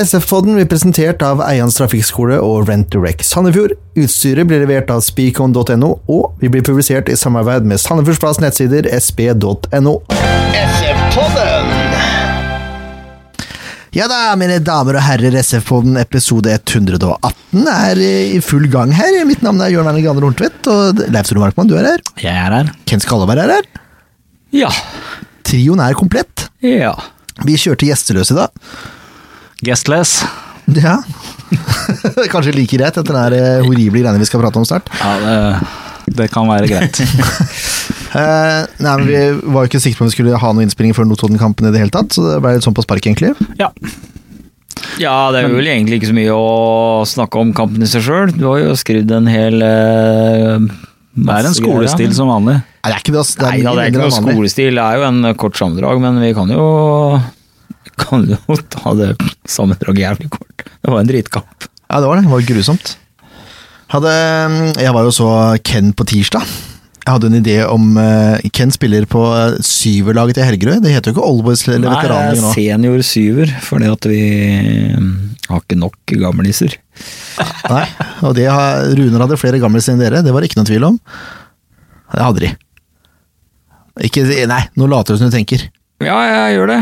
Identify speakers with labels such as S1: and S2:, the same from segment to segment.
S1: SF-podden blir presentert av Eians Trafikkskole og Rent Direct Sandefjord. Utstyret blir levert av speakon.no, og vi blir publisert i samarbeid med Sandefjordsplass nettsider sp.no. Ja da, mine damer og herrer, SF-podden episode 118 er i full gang her. Mitt navn er Jørn Werner Graner Horntvedt, og Leif Tore Markmann, du er her.
S2: Jeg er her.
S1: Ken Skalleberg er her.
S2: Ja.
S1: Trioen er komplett.
S2: Ja.
S1: Vi kjørte gjesteløs i dag.
S2: Guestless.
S1: Ja. Kanskje like greit etter den her, eh, horrible greiene vi skal prate om snart.
S2: Ja, det, det kan være greit.
S1: Eh, nei, men Vi var jo ikke sikre på om vi skulle ha noen innspilling før Notodden-kampen, i det hele tatt, så det ble litt sånn på spark, egentlig.
S2: ja. Ja, det er vel egentlig ikke så mye å snakke om kampen i seg sjøl. Du har jo skrevet en hel eh, masse
S3: Det er
S2: greier,
S3: en skolestil
S2: ja.
S3: som vanlig.
S1: Nei, det er ikke det, ass. Det er,
S2: Nei da, det er ikke
S1: mindre
S2: noe
S1: enn vanlig.
S2: skolestil. Det er jo en eh, kort sammendrag, men vi kan jo kan jo ta det sammendraget jævlig kort. Det var en dritkamp.
S1: Ja, det var det. Det var grusomt. Hadde, eh, jeg var jo så Ken på tirsdag. Jeg hadde en idé om eh, Ken spiller på eh, syverlaget til Helgerøy. Det heter jo ikke Oldboys eller
S2: Nei, det
S1: Veteraner
S2: er
S1: nå.
S2: senior syver, fordi at vi mm, har ikke nok gamliser.
S1: Nei, og det har, Runer hadde flere gamle enn dere, det var det ikke noe tvil om. Det hadde de. Ikke, nei, nå later du som du tenker.
S2: Ja, jeg gjør det.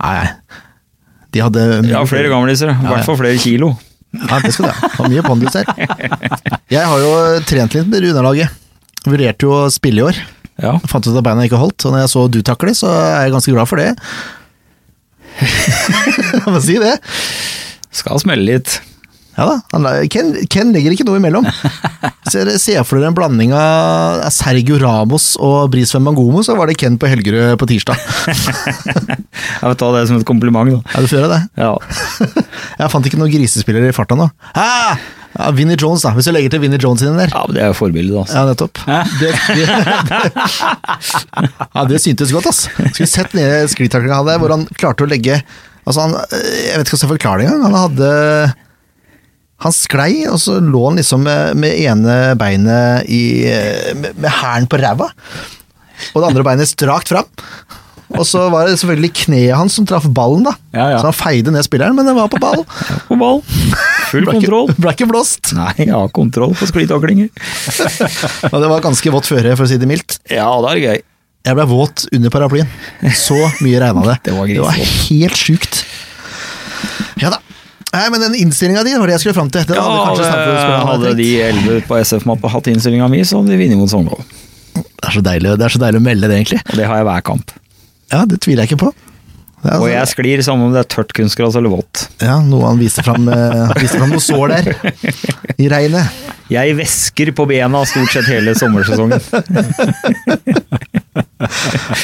S1: Nei, nei. De hadde
S2: Ja, flere gamliser. I hvert fall flere kilo.
S1: Ja, det skal du ha. Det var mye pondus her. Jeg har jo trent litt med Runar-laget. Vurderte jo å spille i år.
S2: Ja.
S1: Fant ut at beina ikke holdt, og når jeg så du takle, så er jeg ganske glad for det. Jeg må si det.
S2: Skal smelle litt.
S1: Ja da. Han, Ken, Ken legger ikke noe imellom. Ser, ser for dere en blanding av Sergio Ramos og Brisveen Mangomo, så var det Ken på Helgerød på tirsdag.
S2: Jeg vil ta det som et kompliment, da.
S1: Ja, du får gjøre det.
S2: Ja.
S1: Jeg fant ikke noen grisespillere i farta nå. Ah! Ja, Vinnie Jones, da. Hvis du legger til Vinnie Jones inni der.
S2: ja, men det er jo forbildet, altså.
S1: Ja, nettopp. Det, det, ja, det syntes godt, ass. Skulle sett nede sklitaklinga han hadde, hvor han klarte å legge Altså, han Jeg vet ikke hvordan jeg forklarer det engang. Han hadde Han sklei, og så lå han liksom med, med ene beinet i Med med hælen på ræva, og det andre beinet strakt fram. Og så var det selvfølgelig kneet hans som traff ballen, da.
S2: Ja, ja.
S1: Så han feide ned spilleren, men den var på ball.
S2: På ball. Full
S1: Ble ikke-
S2: kontroll.
S1: Ble ikke blåst.
S2: Nei, jeg har kontroll på sklitaklinger.
S1: Og det var ganske vått føre, for å si det mildt.
S2: Ja, det er gøy.
S1: Jeg ble våt under paraplyen. Så mye regna det.
S2: Det var grisevått.
S1: helt sjukt. Ja da. Nei, men den innstillinga di var det jeg skulle fram til. Den
S2: Ja,
S1: hadde kanskje Sandefjord
S2: hadde,
S1: spillerne
S2: hadde de
S1: trengt.
S2: elleve på SF-mappa hatt innstillinga mi, så hadde de vunnet mot Sogndal.
S1: det, er så deilig, det er så deilig å melde det, egentlig.
S2: Og det har jeg hver kamp.
S1: Ja, det tviler jeg ikke på. Det er,
S2: Og
S1: altså-
S2: jeg sklir samme om det er tørt kunstgras eller vått.
S1: ja, noe han viste fram, eh, viste fram noe sår der. I regnet.
S2: Jeg væsker på bena stort sett hele sommersesongen.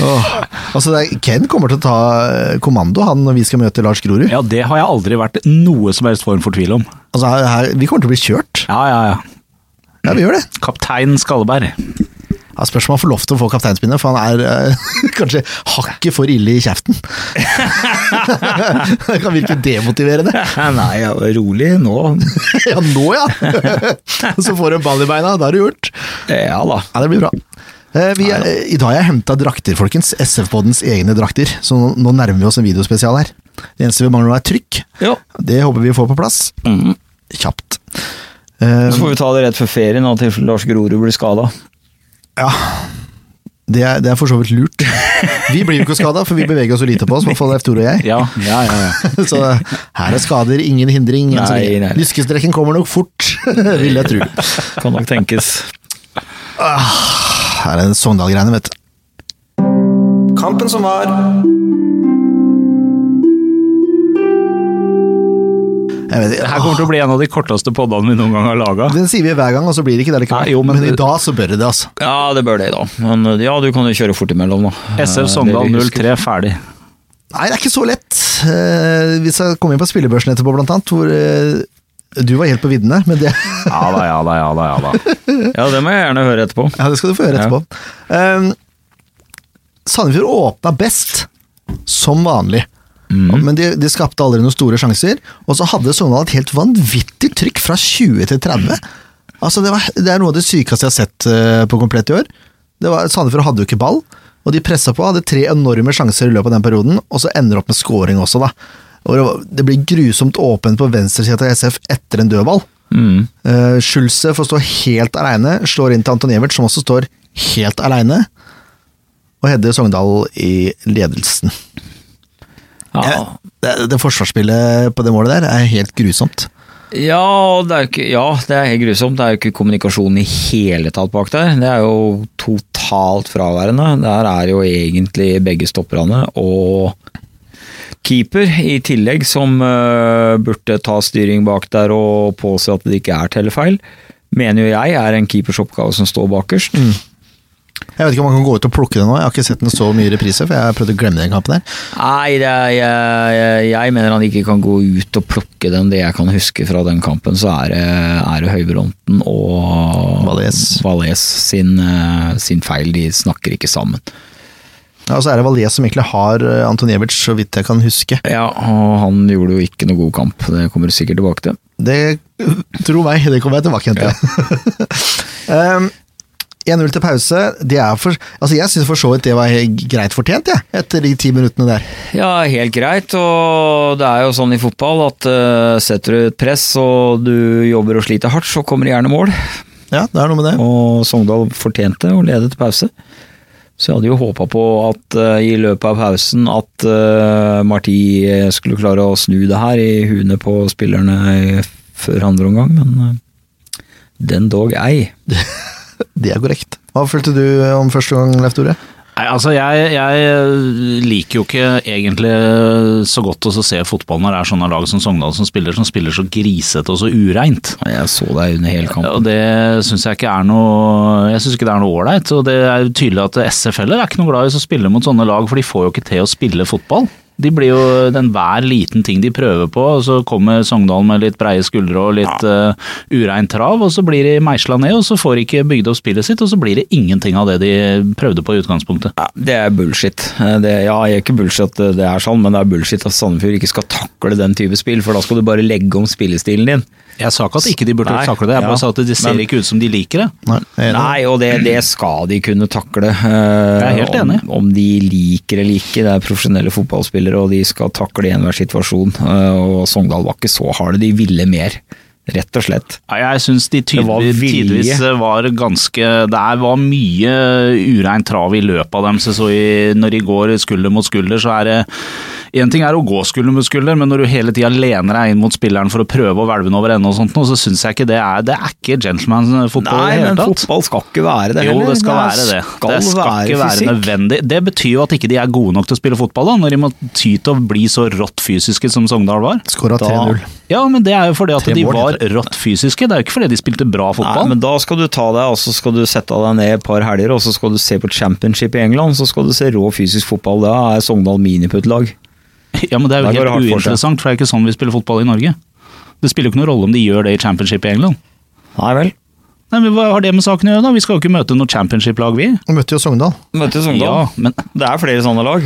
S1: Åh. Altså, det er, Ken kommer til å ta eh, kommando, han, når vi skal møte Lars Grorud.
S3: Ja, det har jeg aldri vært noe som helst form for tvil om.
S1: Altså, her, her, vi kommer til å bli kjørt.
S3: Ja, ja, ja.
S1: Ja, vi gjør det.
S3: Kaptein Skalleberg.
S1: Ja, Spørs om han får lov til å få kapteinspinnet, for han er eh, kanskje hakket for ille i kjeften. det kan virke demotiverende.
S2: Nei, ja, rolig nå.
S1: Ja, nå ja! Så får du en ball i beina, da er det gjort.
S2: Ja da.
S1: Ja, det blir bra. Eh, Vi er, eh, I dag har jeg henta drakter, folkens. SF-poddens egne drakter. Så nå- nå nærmer vi oss en videospesial her. Det eneste vi mangler nå, er trykk.
S2: Ja.
S1: Det håper vi får på plass.
S2: Mm.
S1: Kjapt. Eh,
S2: Så får vi ta det rett før ferien, da, til Lars Grorud blir skada.
S1: Ja. Det er, det er for så vidt lurt. Vi blir jo ikke skada, for vi beveger oss jo lite på oss, i hvert fall Leif Tore og jeg.
S3: Ja, ja, ja. ja.
S1: Så her er skader, ingen hindring. enn så
S2: Nei,
S1: lenge.
S2: nei.
S1: Lyskestrekken kommer nok fort, vil jeg tro.
S2: Kan nok tenkes.
S1: Her er Sogndal-greiene, vet du. Kampen som var. Jeg vet
S3: Det
S1: ikke,
S3: her kommer til å bli en av de korteste poddene vi noen gang har laga.
S1: Den sier vi hver gang, og så blir det ikke det likevel.
S3: Nei, jo, men-
S1: men, i dag så bør det, altså.
S2: Ja, det bør det, da. Men eh, ja, du kan jo kjøre fort imellom, da.
S3: SF
S2: Eh,
S3: Sogndal
S2: det vi husker.
S3: 03 ferdig.
S1: Nei, det er ikke så lett. Eh, Vi skal komme inn på spillebørsen etterpå, blant annet, hvor eh, du var helt på viddene, men det
S3: Ja da, ja da, ja da. ja da.
S2: Ja, det må jeg gjerne høre etterpå.
S1: Ja, det skal du få høre
S2: Ja.
S1: etterpå. Um, Sandefjord åpna best, som vanlig.
S2: Mm.
S1: Men de, de skapte aldri noen store sjanser. Og så hadde Sogndal et helt vanvittig trykk fra 20 til 30. Altså, det, var, det er noe av det sykeste jeg har sett eh, på komplett i år. Det var, Sandefjord hadde jo ikke ball, og de pressa på. Hadde tre enorme sjanser i løpet av den perioden, og så ender opp med scoring også, da. Og det var- det blir grusomt åpent på venstresida til SF etter en dødball.
S3: Mm.
S1: Uh, Schulze får stå helt aleine, slår inn til Anton Evert, som også står helt aleine. Og Hedde Sogndal i ledelsen.
S2: Ja.
S1: Jeg- Det, det forsvarsspillet på det målet der er helt grusomt.
S2: Ja, og det er jo ikke, ja, det er helt grusomt. Det er jo ikke kommunikasjon i hele tatt bak der. Det er jo totalt fraværende. Der er jo egentlig begge stopperne og keeper i tillegg, som øh, burde ta styring bak der og påse at det ikke er tellefeil. Mener jo jeg er en keepers oppgave som står bakerst.
S1: Jeg vet ikke om man kan gå ut og plukke det nå, jeg har ikke sett den så mye i reprise, for jeg har prøvd å glemme den kampen der.
S2: Nei, det er, jeg, jeg, jeg mener han ikke kan gå ut og plukke den. Det jeg kan huske fra den kampen, så er det, er det Høybronten og
S1: Valais.
S2: Valais sin, eh, sin feil. De snakker ikke sammen.
S1: Ja, og så er det Valais som egentlig har eh, Anton Evert, så vidt jeg kan huske.
S2: Ja, og han gjorde jo ikke noe god kamp. Det kommer du sikkert tilbake til.
S1: Det tro meg, det kommer jeg tilbake igjen til. um, 1-0 til pause. Det er for, altså jeg syns for så vidt det var helt greit fortjent, jeg, etter de ti minuttene der.
S2: Ja, helt greit. Og det er jo sånn i fotball at eh, setter du et press og du jobber og sliter hardt, så kommer det gjerne mål.
S1: Ja, det er noe med det.
S2: Og Sogndal fortjente å lede til pause. Så jeg hadde jo håpa på at eh, i løpet av pausen at eh, Marti eh, skulle klare å snu det her i huene på spillerne i- før andre omgang, men eh, den dog ei.
S1: Det er korrekt. Hva følte du om første gang, Leif Tore?
S3: Nei, altså jeg, jeg liker jo ikke egentlig eh, så godt å så se fotball når det er sånne lag som Sogndal som spiller, som spiller så grisete og så ureint.
S2: Nei, Jeg så deg under hele kampen.
S3: Og det syns jeg ikke er noe Jeg synes ikke det er noe ålreit. Og det er jo tydelig at SF heller er ikke noe glad i å spille mot sånne lag, for de får jo ikke til å spille fotball. De blir jo den hver liten ting de prøver på, og så kommer Sogndal med litt breie skuldre og litt ja. ureint trav, og så blir de meisla ned, og så får de ikke bygd opp spillet sitt, og så blir det ingenting av det de prøvde på i utgangspunktet.
S2: Ja, det er bullshit. Eh, Det, ja, jeg er ikke bullshit at det er sånn, men det er bullshit at Sandefjord ikke skal takle den type spill, for da skal du bare legge om spillestilen din.
S3: Jeg sa ikke at ikke de burde
S2: Nei,
S3: takle det, jeg
S2: ja.
S3: bare sa at det ser
S2: Men-
S3: ikke ut som de liker det.
S1: Nei, jeg er enig.
S2: Nei, og det, det skal de kunne takle. Jeg
S3: Jeg er helt enig.
S2: Om, om de liker eller ikke, det er profesjonelle fotballspillere, og de skal takle i enhver situasjon. eh, Og Sogndal var ikke så harde, de ville mer, rett og slett.
S3: Ja, jeg syns de
S2: var
S3: tydelig,
S2: vilje.
S3: tidvis eh, var ganske Det er- var mye ureint trav i løpet av dem. Så, så i, når de går skulder mot skulder, så er det Én ting er å gå skulder mot skulder, men når du hele tida lener deg inn mot spilleren for å prøve å hvelve den over ende og sånt, nå, så syns jeg ikke det er Det er ikke gentleman-fotball i
S2: Nei,
S3: det hele
S2: men
S3: tatt.
S2: fotball skal ikke være det
S3: Jo,
S2: heller.
S3: det skal være det. det skal ikke være
S2: fysikk.
S3: nødvendig. Det betyr jo at ikke de er gode nok til å spille fotball, da, når de må ty til å bli så rått fysiske som Sogndal var.
S1: Skåra 3-0.
S3: Ja, men det er jo fordi at
S1: Tre
S3: de
S1: mål,
S3: var rått fysiske, det er jo ikke fordi de spilte bra
S2: Nei,
S3: fotball.
S2: men da skal du ta deg, og så skal du sette deg ned et par helger, og så skal du se på championship i England, så skal du se rå fysisk fotball. Da er Sogndal miniputt-lag.
S3: ja, men det er
S2: Da
S3: jo
S2: går det
S3: helt
S2: hardt for seg.
S3: uinteressant, for det er ikke sånn vi spiller fotball i Norge. Det spiller jo ikke noen rolle om de gjør det i championship i England.
S2: Nei vel.
S3: Nei, men Hva har det med saken å gjøre, da? Vi skal jo ikke møte noe championship-lag, vi.
S1: Vi møtte jo Sogndal.
S2: Møtte
S3: Ja,
S2: Sogndal.
S3: men
S2: Det er flere sånne lag.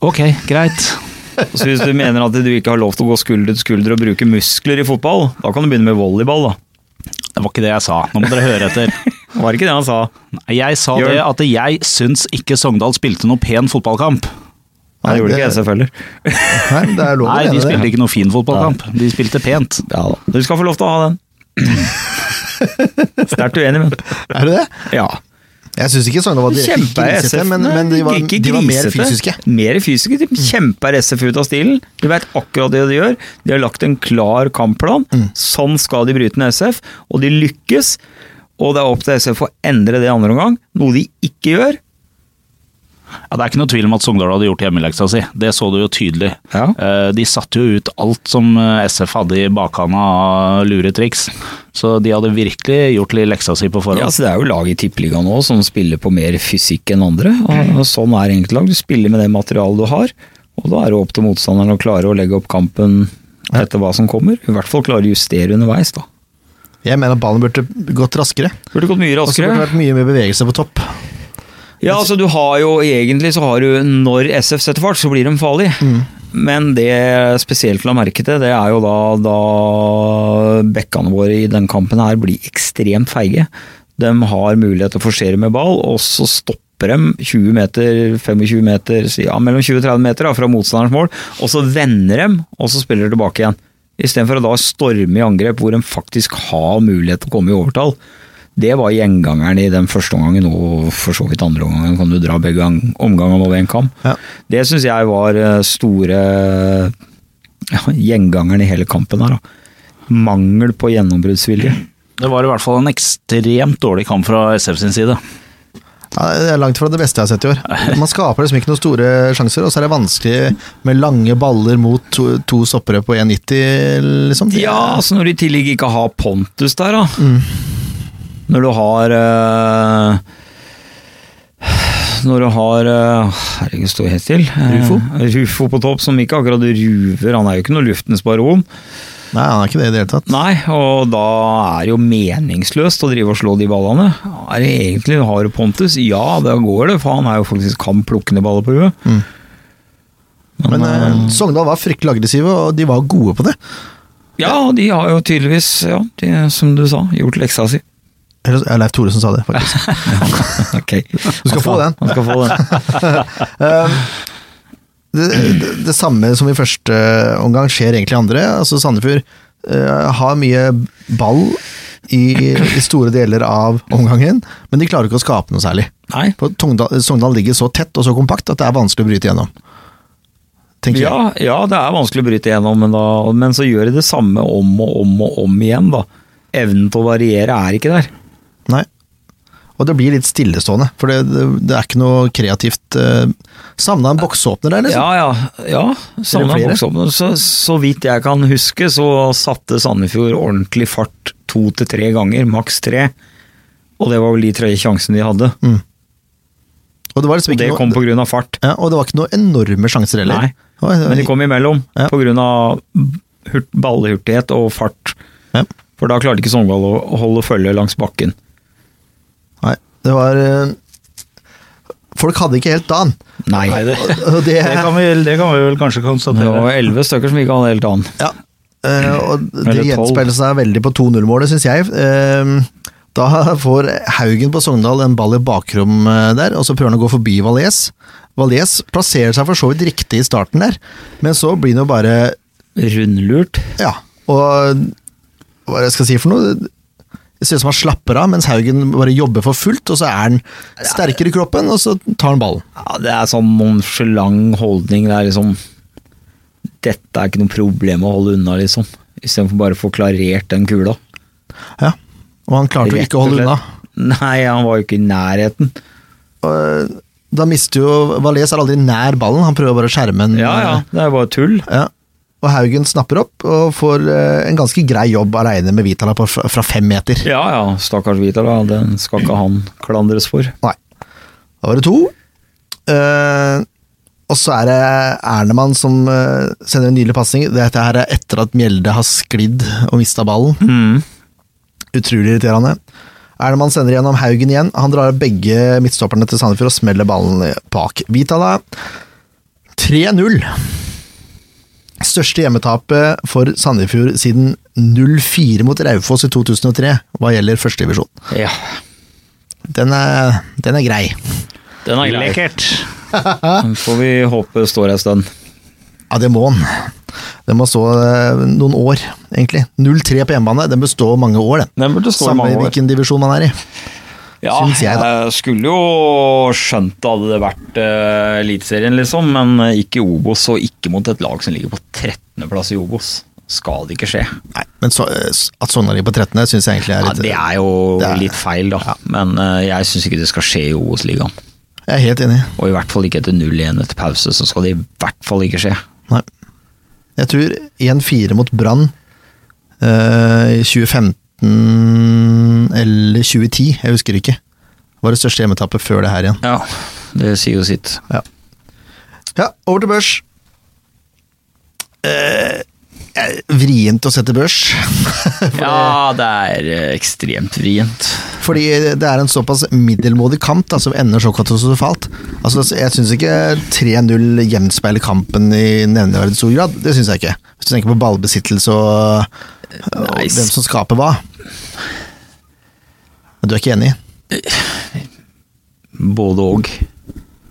S3: ok, greit.
S2: Så hvis du mener at du ikke har lov til å gå skulder til skulder og bruke muskler i fotball, da kan du begynne med volleyball, da.
S3: Det var ikke det jeg sa, nå må dere høre etter.
S2: Var det ikke det han sa?
S3: Nei, Jeg sa
S2: Gjør
S3: det
S2: det.
S3: at jeg syns ikke Sogndal spilte noe pen fotballkamp.
S2: Nei, det gjorde ikke
S1: det-
S2: SF heller.
S1: Nei, det er lov å
S3: Nei, de
S1: mene det.
S3: spilte ikke noe fin fotballkamp, de spilte pent.
S2: Ja da. Du skal få lov til å ha den. Sterkt uenig, men.
S1: Er du det?
S2: Ja.
S1: Jeg syns ikke Sogndal var direkte grisete, men, men de, var,
S2: Ikke
S1: de var mer
S2: grisete.
S1: fysiske.
S2: Mer fysiske, de kjemper SF ut av stilen. De vet akkurat det de gjør. De har lagt en klar kampplan.
S1: Mm.
S2: Sånn skal de bryte ned SF, og de lykkes. Og det er opp til SF å endre det i andre omgang, noe de ikke gjør.
S3: Ja, Det er ikke noe tvil om at Sogndal hadde gjort hjemmeleksa si, det så du jo tydelig.
S2: Ja.
S3: Eh, De satte jo ut alt som eh, SF hadde i bakhanda av lure triks, så de hadde virkelig gjort litt leksa si på
S2: Ja,
S3: forhånd.
S2: altså Det er jo lag i tippeligaen nå som spiller på mer fysikk enn andre.
S1: Mm.
S2: og og Sånn er enkeltlag. Du spiller med det materialet du har, og da er det opp til motstanderen å klare å legge opp kampen etter hva som kommer. I hvert fall klare å justere underveis, da.
S1: Jeg mener at ballen burde gått raskere.
S2: Burde gått mye
S1: Og så burde det
S2: raskere.
S1: vært mye mer bevegelse på topp.
S2: Ja, altså du har jo egentlig så har du Når SF setter fart, så blir de farlige. Men det spesielt la merke til, det er jo da, da bekkene våre i den kampen her blir ekstremt feige. De har mulighet til å forsere med ball, og så stopper stopper dem 20 meter, 25 meter, si- ja, mellom 20 og 30 meter da, fra motstanderens mål, og så vender dem, og så spiller de tilbake igjen. Istedenfor å da storme i angrep hvor de faktisk har mulighet til å komme i overtall. Det var gjengangeren i den første omgangen, og for så vidt andre omgangen kan du dra begge gang- omgangene over en kam.
S1: Ja.
S2: Det syns jeg var eh, store ja, gjengangeren i hele kampen her. Da. Mangel på gjennombruddsvilje.
S3: Det var i hvert fall en ekstremt dårlig kamp fra SF sin side.
S1: Ja, det er langt fra det beste jeg har sett i år. Man skaper liksom ikke noen store sjanser, og så er det vanskelig med lange baller mot to, to stoppere på 1,90, liksom. Det- Mm.
S2: Ja, altså når de i tillegg ikke har Pontus der, da. Når du har eh, Når du har eh, Herregud, står helt stille.
S1: Rufo?
S2: Rufo på topp, som ikke akkurat ruver. Han er jo ikke noe luftens baron.
S1: Nei, han er ikke det i det hele tatt.
S2: Nei, og da er det jo meningsløst å drive og slå de ballene. Er det egentlig Har du Pontus? Ja, da går det, for han er jo faktisk kan plukke ned baller på huet.
S1: Mm.
S2: Men,
S1: Men eh, Sogndal var fryktelig aggressive, og de var gode på det.
S2: ja, de har jo tydeligvis, ja, de, som du sa, gjort leksa si.
S1: Eller ja, Leif Tore som sa det, faktisk.
S2: Ok.
S1: Du skal få den.
S2: Han skal få den.
S1: Eh, det, det, det samme som i første eh, omgang skjer egentlig i andre. Altså Sandefjord eh, har mye ball i, i store deler av omgangen, men de klarer ikke å skape noe særlig.
S2: Nei.
S1: På Tongdal, Sogndal ligger så tett og så kompakt at det er vanskelig å bryte gjennom. Tenker
S2: Ja, ja, det er vanskelig å bryte gjennom, men, da, men så gjør de det samme om og om og om igjen, da. Evnen til å variere er ikke der.
S1: jeg. Nei. Og det blir litt stillestående, for det, det, det er ikke noe kreativt uh, Savna en boksåpner der, liksom.
S2: Ja, ja. ja samme
S1: flere?
S2: boksåpne. så, så vidt jeg kan huske, så satte Sandefjord ordentlig fart to til tre ganger, maks tre. Og det var vel de tre sjansene de hadde.
S1: Og det var liksom
S2: Og det
S1: ikke
S2: kom
S1: noe,
S2: pga. fart.
S1: ja, og det var ikke noe enorme sjanser heller.
S2: Nei,
S1: Det var-
S2: Men de kom imellom
S1: Ja.
S2: pga. Hurt, ballehurtighet og fart.
S1: Ja.
S2: For da klarte ikke Sogndal å å holde følge langs bakken.
S1: Nei, det var eh, Folk hadde ikke helt dagen.
S2: Nei.
S3: Nei, det,
S1: Og det,
S3: det, kan vi, det kan vi vel kanskje
S2: Det
S3: konstatere.
S2: var elleve stykker som ikke hadde helt annen.
S1: ja, eh, og det
S2: Eller tolv.
S1: gjenspeiler seg veldig på 2-0-målet, syns jeg. Eh, Da får Haugen på Sogndal en ball i bakrom eh, der, og så prøver han å gå forbi Valais. Valais plasserer seg for så vidt riktig i starten der, men så blir det jo bare
S2: Rundlurt.
S1: Ja, og hva er det jeg skal si for noe? Det ser ut som han slapper av, mens Haugen bare jobber for fullt, og så er han sterkere i kroppen, og så tar han ballen.
S2: Ja, det er sånn nonchalant holdning. Det er liksom Dette er ikke noe problem å holde unna, liksom. Istedenfor bare å få klarert den kula.
S1: Ja, og han klarte jo
S2: Rett
S1: ikke å
S2: og
S1: holde
S2: slett.
S1: unna.
S2: Nei, han var jo ikke i nærheten.
S1: Og, eh, da mister jo Valais er aldri nær ballen, han prøver bare å skjerme den. eh,
S2: Ja ja, det er jo bare tull.
S1: Ja. Og Haugen snapper opp og får eh, en ganske grei jobb aleine med Vitala på, fra fra fem meter.
S2: Ja ja, stakkars Vita, da. Den skal ikke han klandres for.
S1: Nei. Da var det to. Eh, og så er det Ernemann som eh, sender en nydelig pasning. Dette her er etter at Mjelde har sklidd og mista ballen. Utrolig irriterende. Ernemann sender gjennom Haugen igjen. Han drar begge midtstopperne til Sandefjord og smeller ballen bak. Vitala 3-0. Største hjemmetapet for Sandefjord siden 0-4 mot Raufoss i 2003 hva gjelder førstedivisjon.
S2: Ja.
S1: Den, er- den er grei.
S2: Den er grei.
S3: Lekkert.
S2: Den får vi håpe står ei stund.
S1: Ja, det må den. Den må stå eh, noen år, egentlig. 0-3 på hjemmebane, den bør stå mange år, den.
S2: Den burde stå i
S1: Samme
S2: mange år.
S1: hvilken divisjon man er i.
S2: Ja,
S1: Syns jeg,
S2: jeg,
S1: da.
S2: skulle jo skjønt det hadde det vært eh, Eliteserien, liksom, men eh, ikke Obos, og ikke mot et lag som ligger på 13.-plass i Obos. Skal det ikke skje.
S1: Nei, men så, eh, s- at Sogndal ligger på 13., syns jeg egentlig er
S2: Ja,
S1: litt
S2: det er jo
S1: det er-
S2: litt feil, da, men eh, jeg syns ikke det skal skje i Obos-ligaen.
S1: Jeg er helt enig.
S2: Og i hvert fall ikke etter 0-1 etter pause, så skal det i hvert fall ikke skje.
S1: Nei. Jeg tror 1-4 mot Brann eh, i 2015 eller 2010, jeg husker ikke. Var det største hjemmetapet før det her igjen.
S2: Ja, det sier jo sitt.
S1: Ja, ja over til børs. Eh, jeg er vrient å sette børs.
S2: Ja, det er eh, ekstremt vrient.
S1: Fordi det er en såpass middelmådig kamp da, som ender så katastrofalt. Altså, jeg syns ikke 3-0 gjenspeiler kampen i nevneverdig stor grad. Det syns jeg ikke. Hvis du tenker på ballbesittelse og, og
S2: Nei,
S1: hvem som skaper hva. Men Du er ikke enig?
S2: Både og.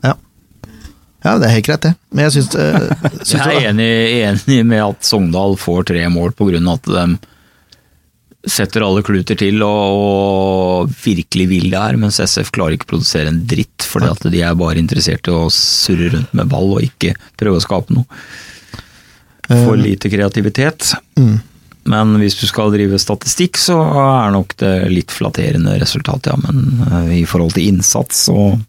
S1: Ja. ja, det er helt greit, det. Men jeg syns, eh, syns det
S2: Jeg
S1: var-
S2: er enig, enig med at Sogndal får tre mål på grunn av at de setter alle kluter til og, og virkelig vil det her, mens SF klarer ikke å produsere en dritt, fordi at de er bare interessert i å surre rundt med ball og ikke prøve å skape noe. For lite kreativitet.
S1: Mm.
S2: Men hvis du skal drive statistikk, så er nok det litt flatterende resultat, ja. Men eh, i forhold til innsats og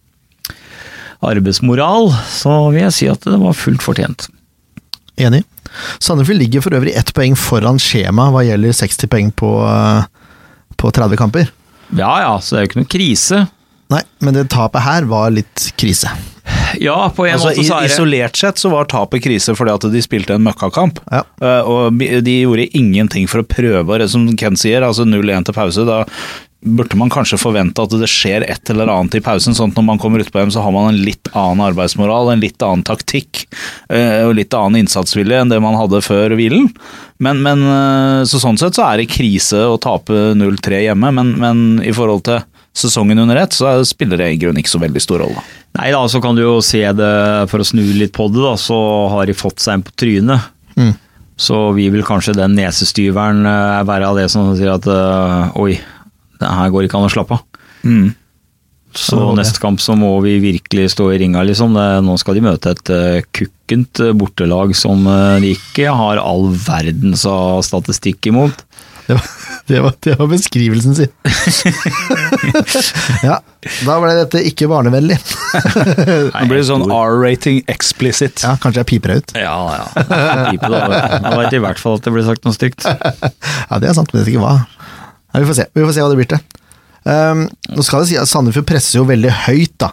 S2: arbeidsmoral, så vil jeg si at det var fullt fortjent.
S1: Enig. Sandefjord ligger for øvrig ett poeng foran skjema hva gjelder 60 poeng på, eh, på 30 kamper.
S2: Ja ja, så det er jo ikke noen krise.
S1: Nei, men det tapet her var litt krise.
S2: Ja, på en
S3: Altså,
S2: måte så
S3: i-
S2: er det
S3: isolert sett så var tapet krise fordi at de spilte en møkkakamp.
S1: Ja.
S3: Eh, og bi- de gjorde ingenting for å prøve, og det som Ken sier, altså 0-1 til pause. Da burde man kanskje forvente at det skjer et eller annet i pausen, sånn at når man kommer utpå dem, så har man en litt annen arbeidsmoral, en litt annen taktikk eh, og litt annen innsatsvilje enn det man hadde før hvilen. Men, men eh, så sånn sett så er det krise å tape 0-3 hjemme, men, men i forhold til sesongen under ett, så spiller det i grunnen ikke så veldig stor rolle.
S2: Nei da, så kan du jo se det for å snu litt på det, da. Så har de fått seg en på trynet.
S1: Mm.
S2: Så vil vel kanskje den nesestyveren eh, være av det som sier at eh, oi, det her går ikke an å slappe av.
S3: Mm.
S2: Så
S1: Ja, det var det.
S2: neste kamp så må vi virkelig stå i ringa, liksom. Det, nå skal de møte et eh, kukkent eh, bortelag som eh, de ikke har all verdens av statistikk imot.
S1: Det var, det var, det var beskrivelsen sin. ja, da ble dette ikke barnevennlig.
S3: Nå blir det sånn R-rating explicit.
S1: Ja, kanskje jeg piper deg ut.
S2: Ja, ja. Pipe, da. Jeg vet i hvert fall at det blir sagt noe stygt.
S1: Ja, det er sant, men jeg vet ikke hva. Ja, vi får se, vi får se hva det blir til. Ehm, nå skal det si at Sandefjord presser jo veldig høyt da,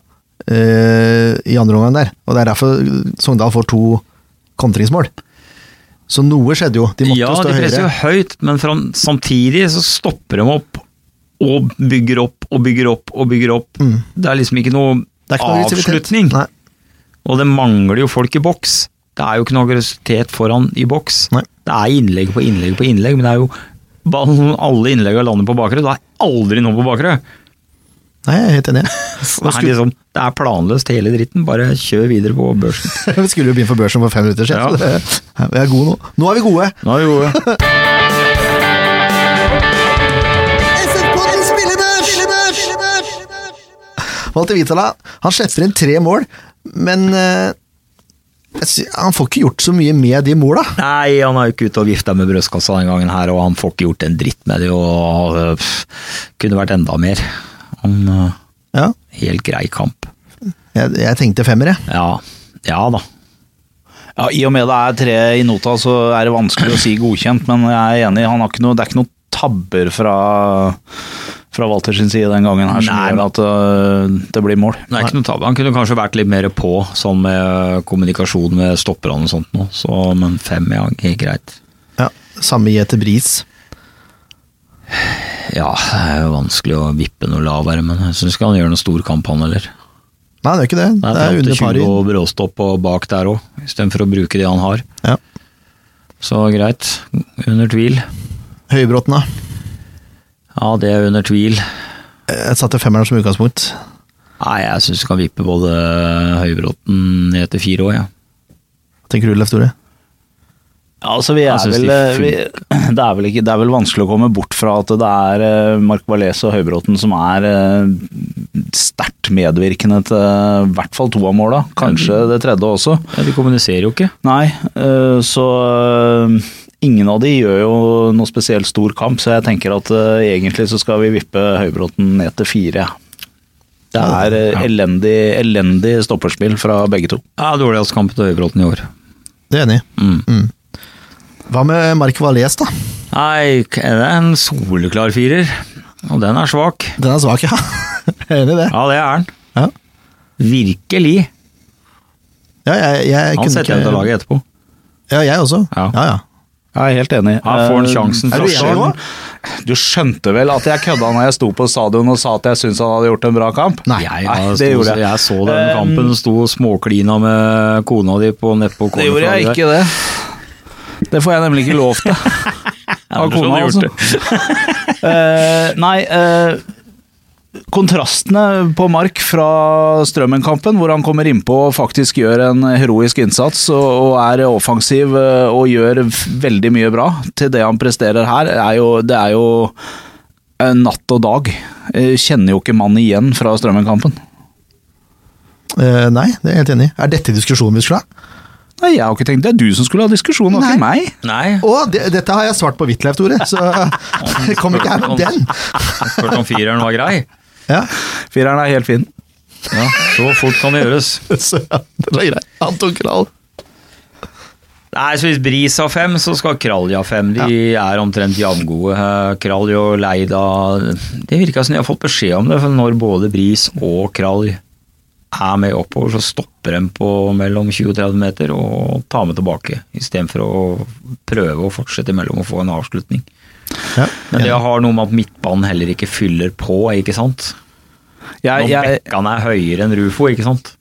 S1: eh, i andre omgang der, og det er derfor Sogndal får to kontringsmål. Så noe skjedde jo, de måtte
S2: ja,
S1: jo stå
S2: de presser
S1: høyere.
S2: jo høyt, men fram, samtidig så stopper de opp og bygger opp og bygger opp og bygger opp.
S1: Mm.
S2: Det er liksom ikke noe
S1: Det er ikke noe aggressivitet.
S2: avslutning.
S1: Nei,
S2: Og det mangler jo folk i boks. Det er jo ikke noe aggressivitet foran i boks.
S1: Nei.
S2: Det er innlegg på innlegg på innlegg, men det er jo ballen, alle innleggene lander på bakre. Det er aldri noe på bakre.
S1: nei, jeg er helt enig.
S2: Så Det er, liksom, det er planløst hele dritten. Bare kjør videre på børsen.
S1: Vi skulle jo begynne for børsen for fem minutter siden.
S2: Ja.
S1: så det- Ja. Vi er gode nå. Nå er vi gode!
S2: Nå er vi gode.
S1: Walter Vitala han slipper inn tre mål, men eh, jeg sy- han får ikke gjort så mye med de måla.
S2: Nei, han er jo ikke ute og vifta med brystkassa den gangen her, og han får ikke gjort en dritt med det, og øh, pff, kunne vært enda mer. Han øh,
S1: Ja.
S2: Helt grei kamp.
S1: Jeg, jeg tenkte femmer, jeg.
S2: Ja, ja da.
S3: Ja, I og med det er tre i nota, så er det vanskelig å si godkjent, men jeg er enig. Han har ikke noe, det er ikke noen tabber fra, fra Walter sin side den gangen her som
S2: Nei,
S3: gjør at øh, det blir mål.
S2: Det er ikke noe tabbe. Han kunne kanskje vært litt mer på, sånn med øh, kommunikasjon med stopperne og sånt nå, så, men fem ja, helt greit.
S1: Ja. Samme Gjeter Bris.
S2: Ja, det er jo vanskelig å vippe noe lavere, men jeg syns ikke han gjør noen stor kamp, han heller.
S1: Nei, det er ikke det.
S2: Det
S1: Det er
S2: er
S1: under
S2: 50
S1: pari.
S2: 20 og bråstopp og bak der òg, istedenfor å bruke det han har.
S1: Ja.
S2: Så greit, under tvil.
S1: Høybråten, da.
S2: Ja, det er under tvil.
S1: Jeg satte femmeren som utgangspunkt.
S2: Nei, jeg syns du kan vippe både Høybråten ned til fire år, ja.
S1: Tenker du, Leif Tore?
S3: Altså, vi er
S2: Jeg synes
S3: vel,
S2: de
S3: vi, det, er vel ikke, det er vel vanskelig å komme bort fra at det er eh, Mark Valles og Høybråten som er eh, sterkt medvirkende til eh, i hvert fall to av måla, kanskje
S2: Mm.
S3: det tredje også.
S2: ja de kommuniserer jo ikke.
S3: Nei, øh, så øh, ingen av de gjør jo noe spesielt stor kamp, så jeg tenker at øh, egentlig så skal vi vippe Høybråten ned til fire. Det er øh, elendig, elendig stopperspill fra begge to.
S2: Ja, Dårligst kamp til Høybråten i år.
S1: Det er jeg enig i.
S2: Mm.
S1: Mm. Hva med Mark Valles, da?
S2: Nei, k- er det en soleklar firer? Og den er svak.
S1: Den er svak, ja. Jeg er enig i det.
S2: Ja, det er den.
S1: Ja.
S2: Virkelig.
S1: Ja, jeg, jeg
S2: Han
S1: kunne
S2: setter hjem til
S1: ikke
S2: laget etterpå.
S1: Ja, jeg også.
S2: Ja.
S1: ja. ja.
S3: Jeg er helt enig. Eh,
S2: Her får han sjansen
S1: er
S2: fra
S1: du enig
S2: starten.
S1: nå?
S3: Du skjønte vel at jeg kødda når jeg sto på stadion og sa at jeg syntes han hadde gjort en bra kamp?
S1: Nei.
S2: jeg,
S3: Nei,
S2: sto-
S3: det gjorde jeg. Ehm,
S2: jeg så den kampen, sto og småklina med kona di på nedpå
S3: Det gjorde jeg ikke, det. Det får jeg nemlig ikke lov til. Av
S2: ellers hadde
S3: kona,
S2: du gjort
S3: altså. Eh, nei eh, kontrastene på Mark fra Strømmen-kampen, hvor han kommer innpå og faktisk gjør en heroisk innsats og, og er offensiv eh, og gjør f- veldig mye bra, til det han presterer her, er jo, det er jo eh, natt og dag. Eh, Kjenner jo ikke mannen igjen fra Strømmen-kampen.
S1: Eh, nei, det er jeg helt enig i. Er dette diskusjonen vi skulle ha?
S3: Nei, jeg har ikke tenkt Det er du som skulle ha diskusjon, og ikke meg.
S2: Nei.
S1: Å, det, dette har jeg svart på Hvitleif, Tore, så kom ikke her med den!
S2: Spurte om fireren var grei.
S1: Ja,
S3: Fireren er helt fin.
S2: Ja, så fort kan det gjøres.
S1: så ja, det var greit. Han tok knall.
S2: Nei, så Hvis Bris har fem, så skal Kralj ha fem. De er omtrent jevngode. Eh, Kralj og Leida Det virka som de har fått beskjed om det, for når både Bris og Kralj er med oppover, så stopper de på mellom 20 og 30 meter og tar med tilbake, istedenfor å prøve å fortsette imellom og få en avslutning.
S1: Ja,
S2: Men det har noe med at midtbanen heller ikke fyller på, ikke sant?
S3: Jeg,
S2: Når
S3: jeg,
S2: bekkene er høyere enn Rufo, ikke sant?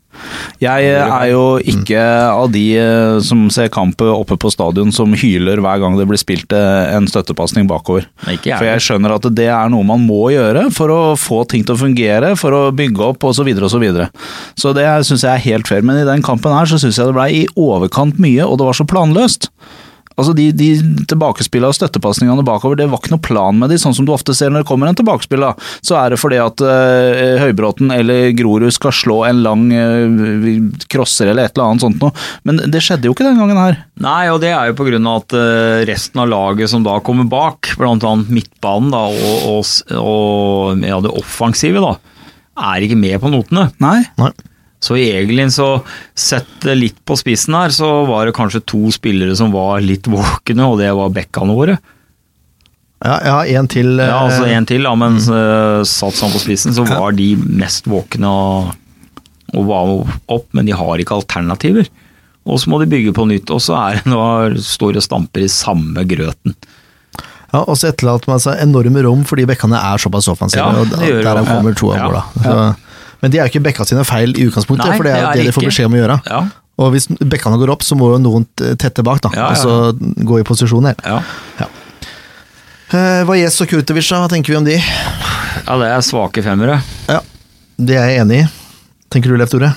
S3: Jeg er jo ikke av de eh, som ser kamp oppe på stadion som hyler hver gang det blir spilt eh, en støttepasning bakover.
S2: Men ikke jeg.
S3: For jeg skjønner at det er noe man må gjøre for å få ting til å fungere, for å bygge opp osv. Så, videre, og så, videre. så det syns jeg er helt fair. Men i den kampen her så syns jeg det blei i overkant mye, og det var så planløst. Altså De, de tilbakespillene og støttepasningene bakover, det var ikke noe plan med de, sånn som du ofte ser når det kommer en tilbakespill. da. Så er det fordi at eh, Høybråten eller Grorud skal slå en lang eh, crosser eller et eller annet sånt noe. Men det skjedde jo ikke den gangen her.
S2: Nei, og det er jo på grunn av at eh, resten av laget som da kommer bak, blant annet midtbanen da, og, og, s- og ja, det offensive, da, er ikke med på notene.
S3: Nei.
S1: Nei.
S2: Så egentlig, så sett det litt på spissen her, så var det kanskje to spillere som var litt våkne, og det var bekkene våre.
S1: Ja, jeg har en til. eh,
S2: Ja, altså en til, da, men eh, satt sånn på spissen, så var de mest våkne og, og var opp, men de har ikke alternativer. Og så må de bygge på nytt, og så er det nå store stamper i samme grøten.
S1: ja, og så etterlater man seg altså, enorme rom fordi bekkene er såpass offensive.
S2: Ja,
S1: og
S2: det
S1: der
S2: gjør
S1: der
S2: det.
S1: kommer to av
S2: Ja.
S1: måla. Så- Men det er jo ikke bekka sine feil i utgangspunktet,
S2: Nei,
S1: for det er jo
S2: det er
S1: det de får
S2: ikke.
S1: beskjed om å gjøre.
S2: Ja,
S1: Og hvis bekkene går opp, så må jo noen t- tette bak, da,
S2: Ja, ja,
S1: og så gå i posisjon her.
S2: ja.
S1: Uh, Vajez og Kurtovic, da, hva tenker vi om de?
S2: ja det er svake femmere.
S1: Ja, Det er jeg enig i. Tenker du, Leif Tore?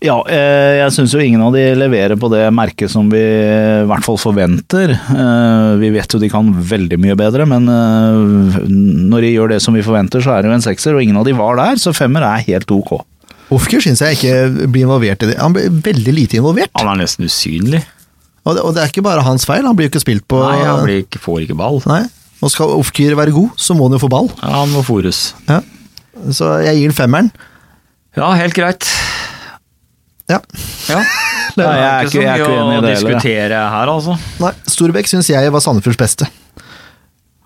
S3: Ja, eh, jeg syns jo ingen av de leverer på det merket som vi eh, i hvert fall forventer. Eh, Vi vet jo de kan veldig mye bedre, men eh, når de gjør det som vi forventer, så er det jo en sekser, og ingen av de var der, så femmer er helt ok.
S1: Ofker syns jeg ikke blir involvert i det. Han blir veldig lite involvert.
S2: Han er nesten usynlig.
S1: Og det, og det er ikke bare hans feil, han blir jo ikke spilt på
S2: Nei, han blir ikke, får ikke ball.
S1: Nei. Og skal Ofker være god, så må han jo få ball.
S2: Ja, han må fôres.
S1: Ja. Så jeg gir den femmeren.
S2: Ja, helt greit.
S1: Ja.
S2: Ja. Det
S3: Nei, jeg er
S2: er
S3: ikke-
S2: ikke
S3: jeg er
S2: så
S3: ikke enig
S2: mye
S3: i
S2: å
S3: det heller,
S2: diskutere her, altså.
S1: Nei, Storbekk syns jeg var Sandefjords beste.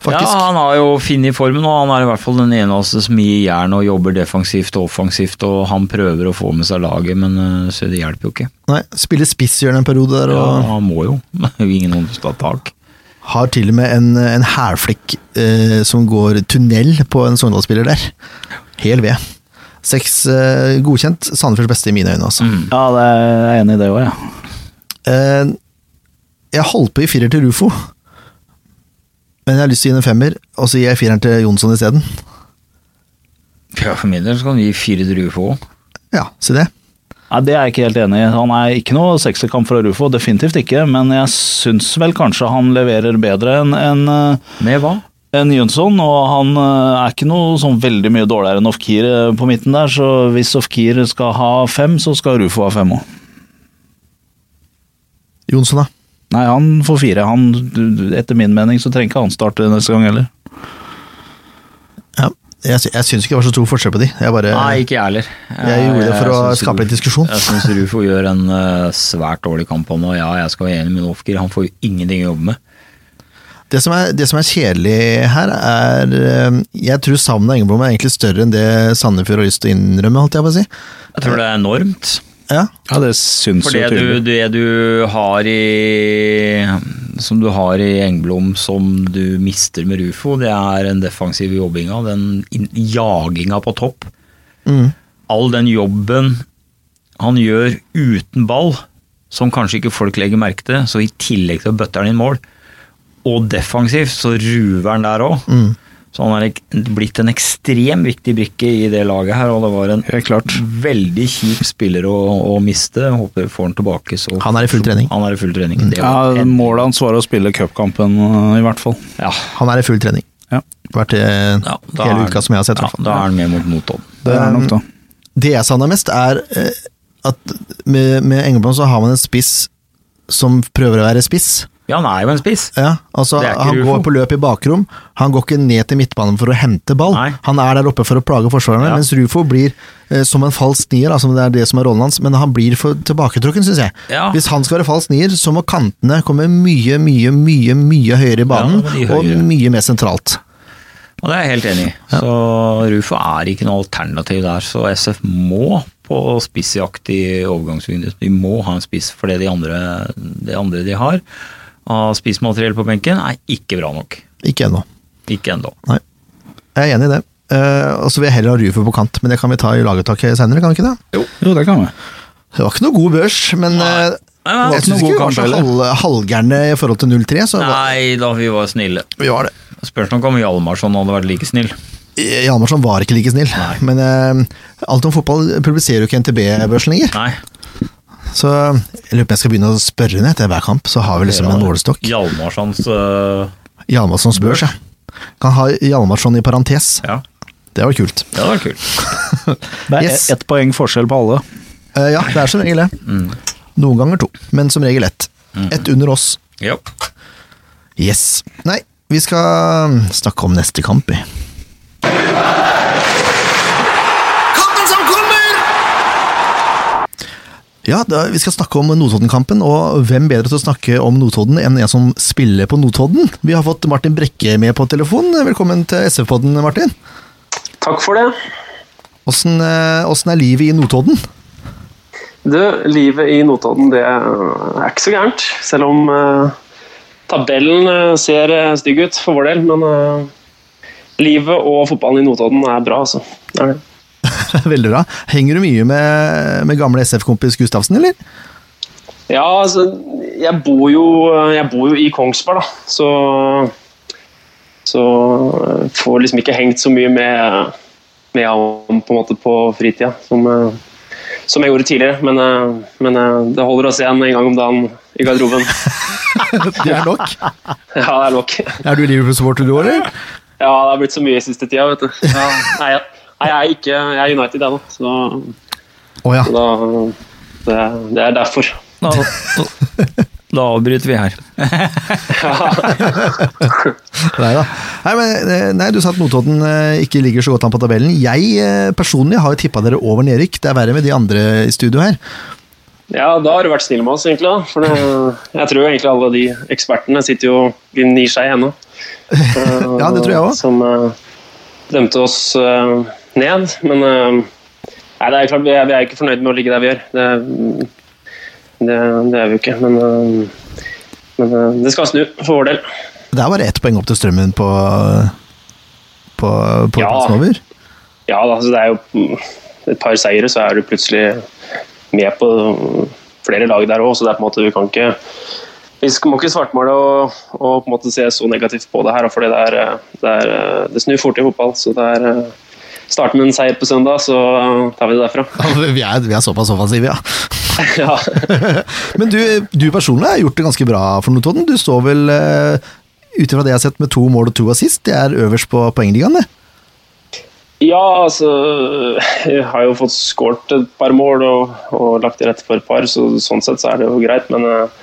S1: Faktisk.
S2: Ja, han har jo funnet formen, og han er i hvert fall den eneste som gir jern og jobber defensivt og offensivt, og han prøver å få med seg laget, men øh, så det hjelper jo ikke.
S1: Nei, Spiller spisshjørne en periode der,
S2: Ja,
S1: og
S2: han må jo. Det er jo ingen andre som tar tak.
S1: har til og med en, en hælflekk eh, som går tunnel på en Sogndal-spiller der. Hel ved. Seks eh, godkjent. Sandefjords beste i mine øyne, altså.
S2: Mm.
S3: Ja, det er jeg enig i det òg, ja.
S1: Eh, jeg holdt på i firer til Rufo, men jeg har lyst til å gi den en femmer, og så gir jeg fireren til Jonsson isteden.
S2: Ja, for min del så kan vi gi fire druer på òg.
S1: Ja, si det.
S3: Nei, Det er jeg ikke helt enig i. Han er ikke noe sekserkamp fra Rufo, definitivt ikke. Men jeg syns vel kanskje han leverer bedre enn enn, eh,
S2: Med hva?
S3: enn Jønsson. Og han eh, er ikke noe sånn veldig mye dårligere enn Ofkir eh, på midten der, så hvis Ofkir skal ha fem, så skal Rufo ha fem òg.
S1: Jonsson, da.
S3: Nei, han får fire. Han, du- etter min mening så trenger ikke han starte neste gang heller.
S1: Ja. Jeg, sy- jeg syns ikke det var så stor forskjell på de. Jeg bare
S2: Nei, ikke jeg heller. Eh,
S1: Jeg gjorde det for å
S2: synes
S1: skape litt
S2: Rufo-
S1: diskusjon.
S2: Jeg syns Rufo gjør en eh, svært dårlig kamp han, og ja, jeg skal være enig med Ofker, han får jo ingenting å jobbe med.
S1: Det som, er, det som er kjedelig her, er eh, Jeg tror savnet av Engeblom er egentlig større enn det Sandefjord har lyst til å innrømme, holdt jeg på å si.
S2: Jeg tror det er enormt.
S1: Ja,
S3: Ja, det syns
S2: For det du, det du har i Som du har i Engblom som du mister med Rufo, det er den defensive jobbinga, den in- jaginga på topp.
S1: mm.
S2: all den jobben han gjør uten ball, som kanskje ikke folk legger merke til, så i tillegg til å bøtte han inn mål, og defensivt, så ruver han der òg.
S1: Mm.
S2: Så han er ek- blitt en ekstrem viktig brikke i det laget her, og det var en veldig kjip spiller å, å miste. Jeg Håper vi får han tilbake. Så
S1: Han er i full trening. Mm.
S2: Han er i full trening. Det
S3: Ja,
S2: var en-
S3: Målet hans var å spille cupkampen, øh, i hvert fall.
S2: ja,
S1: Han er i full trening.
S3: Ja.
S1: Vært eh,
S2: ja, da er
S1: hele
S2: han-
S1: uka som jeg har sett. i
S2: ja,
S1: hvert fall.
S2: Da er han med mot Notodden.
S3: Det er nok, da.
S1: Det jeg savner mest, er eh, at med, med Engeblom så har man en spiss som prøver å være spiss.
S2: Ja, han er jo en spiss.
S1: Ja, altså
S2: Det er ikke
S1: Han
S2: Rufo.
S1: går på løp i bakrom, han går ikke ned til midtbanen for å hente ball.
S2: Nei.
S1: Han er der oppe for å plage forsvarerne,
S2: Ja.
S1: mens Rufo blir eh, som en falsk nier, altså det er det som er rollen hans, men han blir for tilbaketrukken, syns jeg.
S2: Ja.
S1: Hvis han skal være falsk nier, så må kantene komme mye, mye, mye mye høyere i banen,
S2: Ja, de
S1: og
S2: høyere.
S1: mye mer sentralt.
S2: Og det er jeg helt enig i. Så Rufo er ikke noe alternativ der. Så SF må på spissjakt i overgangsvinduet. De må ha en spiss, for det de andre, det andre de har av spissmateriell på benken, er ikke bra nok.
S1: Ikke ennå.
S2: Ikke ennå.
S1: Nei. Jeg er enig i det. Eh, og så vil jeg heller ha Rufo på kant, men det kan vi ta i laguttaket senere, kan vi ikke det?
S3: Jo, det kan vi.
S1: Det var ikke noe god børs, men
S2: Nei.
S1: eh,
S2: Nei, det var
S1: jeg syns
S2: ikke noe
S1: ikke vi
S2: god
S1: var så
S2: kamp
S1: halv, halvgærne i forhold til 0-3, så var-
S2: Nei da, vi var snille.
S1: vi var det.
S2: Spørs nok om Hjalmarsson hadde vært like snill.
S1: Hjalmarsson Eh, var ikke like snill, men eh, alt om fotball publiserer jo ikke NTB-børsen lenger.
S2: Nei.
S1: Så jeg lurer på om jeg skal begynne å spørre henne etter hver kamp, så har vi liksom en målestokk.
S2: Hjalmarssons øh,
S1: Hjalmarssons børs, ja. Kan ha Hjalmarsson i parentes.
S2: Ja,
S1: Det var kult.
S2: det hadde vært kult.
S3: Det er
S1: Yes.
S3: ett poeng forskjell på alle.
S1: Eh, ja, det er som regel det. Noen ganger to, men som regel ett. Ett under oss.
S2: Ja.
S1: Yes. Nei, vi skal um, snakke om neste kamp, vi.
S4: Kampen som kommer!
S1: Ja, da, vi skal snakke om Notodden-kampen, og hvem bedre til å snakke om Notodden enn en som spiller på Notodden? Vi har fått Martin Brekke med på telefon. Velkommen til SF-podden, Martin.
S5: Takk for det.
S1: Åssen eh, åssen er livet i Notodden?
S5: Du, livet i Notodden det er ikke så gærent. Selv om eh, tabellen eh, ser eh, stygg ut for vår del. Men eh, livet og fotballen i Notodden er bra, altså. Det er det.
S1: Veldig bra. Henger du mye med, med gamle SF-kompis Gustavsen, eller?
S5: Ja, altså, jeg bor jo, eh, jeg bor jo i Kongsberg, da. Så, så eh, får liksom ikke hengt så mye med, med ham på, en måte på fritida som, eh, som jeg gjorde tidligere. Men, eh, men eh, det holder å se ham en gang om dagen i garderoben.
S1: Det er nok.
S5: Ja, det er nok.
S1: Er du Liverpool-supporter du òg, eller?
S5: Ja, det har blitt så mye i siste tida, vet du. Ja. Nei, jeg, nei, jeg er ikke jeg er United ennå, så,
S1: Å ja.
S5: så da det, det er derfor.
S2: Da, da avbryter vi her.
S1: Nei da. Nei, men, eh, nei, du sa at Notodden eh, ikke ligger så godt an på tabellen. Jeg eh, personlig har jo tippa dere over nedrykk. Det er verre med de andre i studio her.
S5: Ja, da har du vært snill med oss, egentlig. da. For det, jeg tror jo egentlig alle de ekspertene sitter jo og gnir seg ennå.
S1: Ja, det tror jeg også.
S5: Som eh, dømte oss eh, ned. Men eh, nei, det er klart, vi er, vi er ikke fornøyd med å ligge der vi gjør. Det, det, det er vi jo ikke. Men, eh, men eh, det skal snu, for vår del.
S1: Det er bare ett poeng opp til strømmen på på, på
S5: Ja.
S1: plassen over.
S5: Ja, da, altså det er jo mm, et par seire, så er du plutselig med på mm, flere lag der òg. Så det er på en måte, du kan ikke Vi sk- må ikke svartmale og, og på en måte se så negativt på det her. For det, er, eh, det, er, eh, det snur fort i fotball. Så det er eh, Start med en seier på søndag, så eh, tar vi det derfra.
S1: Ja, Altså, Vi er, vi er såpass offensive, ja.
S5: ja.
S1: Men du, du personlig har gjort det ganske bra for Notodden. Du står vel, eh, ut ifra det jeg har sett, med to mål og to assist. Det er øverst på poengligaen, det.
S5: ja, altså Jeg har jo fått skåret et par mål og, og lagt til rette for et par, så sånn sett så er det jo greit. Men, eh,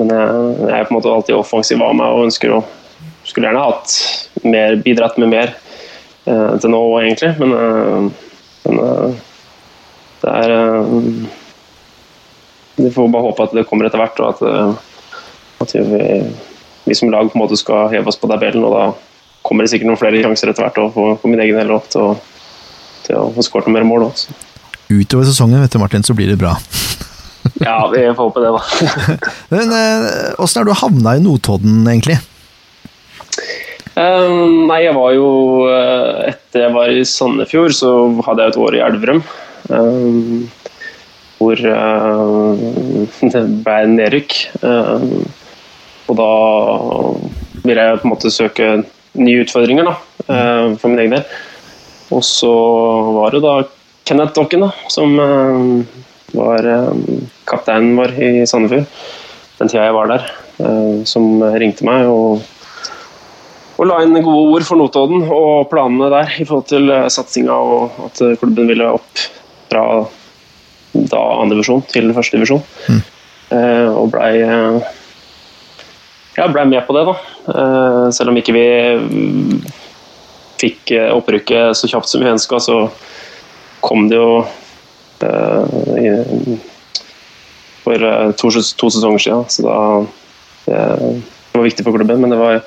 S5: men jeg, jeg er på en måte alltid offensiv av meg og ønsker å skulle gjerne hatt mer, bidratt med mer eh, til nå òg, egentlig. Men, eh, men eh, det er eh, Vi får bare håpe at det kommer etter hvert, og at, eh, at vi, vi som lag på en måte skal heve oss på tabellen. Og da kommer det sikkert noen flere sjanser etter hvert, og for, for min egen del òg, til, å- til å få skåret noen mer mål. Også.
S1: Utover sesongen, vet du, Martin, så blir det bra.
S5: Ja, vi får håpe det, da.
S1: Men eh, åssen er du havna i Notodden, egentlig?
S5: Eh, nei, jeg var jo eh, Etter jeg var i Sandefjord, så hadde jeg et år i Elverum. eh, hvor eh, det ble nedrykk. Eh, og da ville jeg på en måte søke nye utfordringer, da. Eh, eh, for min egen del. Og så var det da Kenneth Dokken, da, som eh, var eh, kapteinen vår i Sandefjord den tida jeg var der, eh, som ringte meg og, og la inn gode ord for Notodden og planene der i forhold til eh, satsinga og at eh, klubben ville opp fra da andre divisjon til første divisjon. Eh, og blei eh, ja, blei med på det, da. Eh, selv om ikke vi mm, fikk eh, opprykket så kjapt som vi ønska, så kom det jo eh, i, for eh, to, ses- to sesonger siden. Så da eh, Det var viktig for klubben, men det var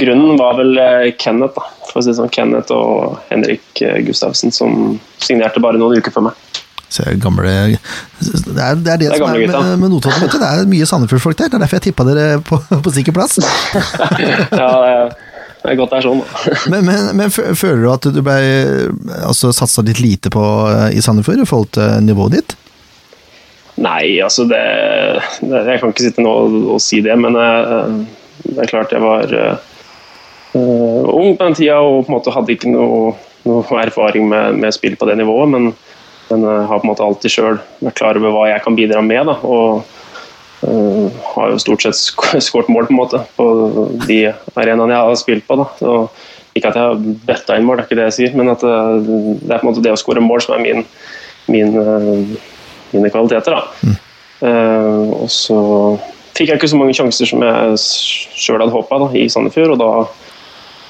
S5: Grunnen var vel eh, Kenneth, da. For å si det sånn, Kenneth og Henrik eh, Gustavsen, som signerte bare noen uker før meg.
S1: Så er det gamle Det er det, er det,
S5: er
S1: som
S5: gamle
S1: er
S5: gutta.
S1: med, med Notodden, vet du. Det er mye Sandefjord-folk der. Det er derfor jeg tippa dere på, på sikker plass.
S5: Ja, det er- det er godt det er sånn, da.
S1: Men, men, men fø- føler du at du ble altså, satsa litt lite på eh, i Sandefjord i forhold til nivået ditt?
S5: Nei, altså det, det Jeg kan ikke sitte nå og, og si det, men eh, det er klart jeg var eh, eh, ung på den tida og på en måte hadde ikke noe, noe erfaring med, med spill på det nivået, men, men eh, har på en måte alltid sjøl vært klar over hva jeg kan bidra med. Da, og eh, har jo stort sett sk- skåret mål på en måte på de arenaene jeg har spilt på. Da. Så, ikke at jeg har bøtta inn mål, det er ikke det jeg sier, men at eh, det er på en måte det å skåre mål som er min, min eh, mine kvaliteter. Da. Eh, og så fikk jeg ikke så mange sjanser som jeg sjøl hadde håpa i Sandefjord, og da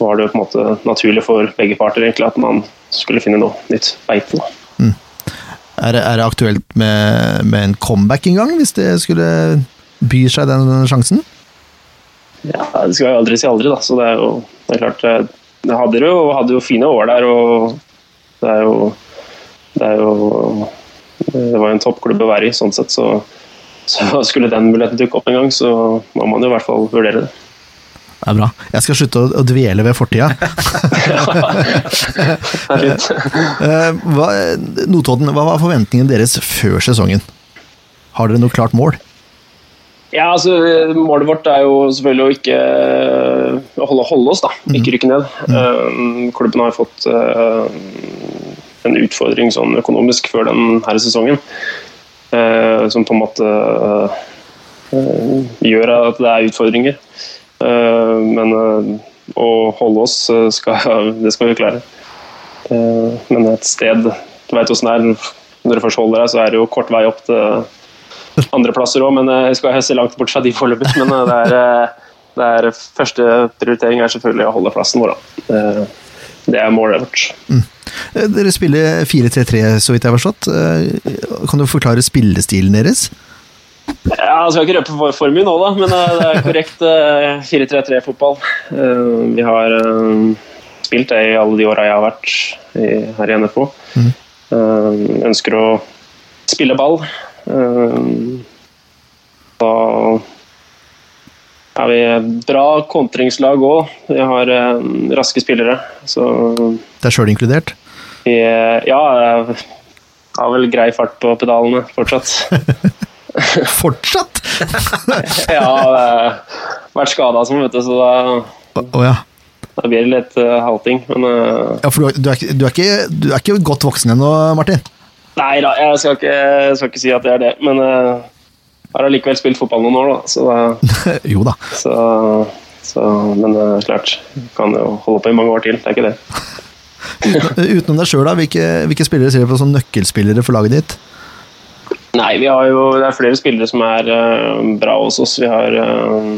S5: var det jo på en måte naturlig for begge parter egentlig at man skulle finne noe nytt beite. Da.
S1: Er, det- er det aktuelt med, med en comeback en gang, hvis det skulle by seg den sjansen?
S5: Ja, det skal jeg aldri si aldri, da. Så det er jo det er klart eh, Jeg hadde jo, hadde jo fine år der, og det er jo Det er jo eh, Det var jo en toppklubb å være i, sånn sett, så, så skulle den muligheten dukke opp en gang, så må man jo i hvert fall vurdere det.
S1: Det er bra. Jeg skal slutte å, å dvele ved fortida.
S5: det er fint.
S1: Eh, hva, Notodden, hva var forventningene deres før sesongen? Har dere noe klart mål?
S5: Ja, altså Målet vårt er jo selvfølgelig å ikke å holde, holde oss, da. Ikke rykke ned. Eh, klubben har fått eh, en utfordring sånn økonomisk før den her sesongen. eh, som på en måte eh, gjør at det er utfordringer. Eh, men eh, å holde oss, eh, skal, det skal vi klare. Eh, men et sted Du veit åssen det er. Når du først holder deg, så er det jo kort vei opp til andreplasser òg, men eh, jeg skal se langt bort fra de foreløpig. Men eh, det er, eh, det er første prioritering er selvfølgelig å holde plassen vår, da. Eh, Det er målet vårt.
S1: Eh, Dere spiller 4-3-3, så vidt jeg har forstått. Eh, Kan du forklare spillestilen deres?
S5: Ja, jeg skal ikke røpe for, for mye nå, da, men eh, det er korrekt eh, 4-3-3-fotball. Eh, Vi har eh, spilt det i alle de åra jeg har vært i, her i NFO. Eh, Ønsker å spille ball. Eh, Da er vi et bra kontringslag òg. Vi har eh, raske spillere. Så
S1: Det er sjøl inkludert.
S5: vi eh, ja, eh, har vel grei fart på pedalene fortsatt.
S1: Fortsatt!
S5: Ja, eh, vært skada som, vet du, så da,
S1: Å å ja.
S5: da blir det litt eh, halting. Men eh,
S1: ja. For du er, du, er, ikke- du, er ikke, du er ikke godt voksen ennå, Martin.
S5: nei da, jeg skal, ikke, jeg skal ikke si at det er det. Men eh, har allikevel spilt fotball noen år, da. Så, da-
S1: jo da.
S5: så, så Men eh, klart, kan jo holde på i mange år til, det er ikke det.
S1: Eh, Utenom deg sjøl, da. Hvilke, hvilke spillere ser dere på som nøkkelspillere for laget ditt?
S5: Nei, vi har jo, det er flere spillere som er eh, bra hos oss. Vi har, eh,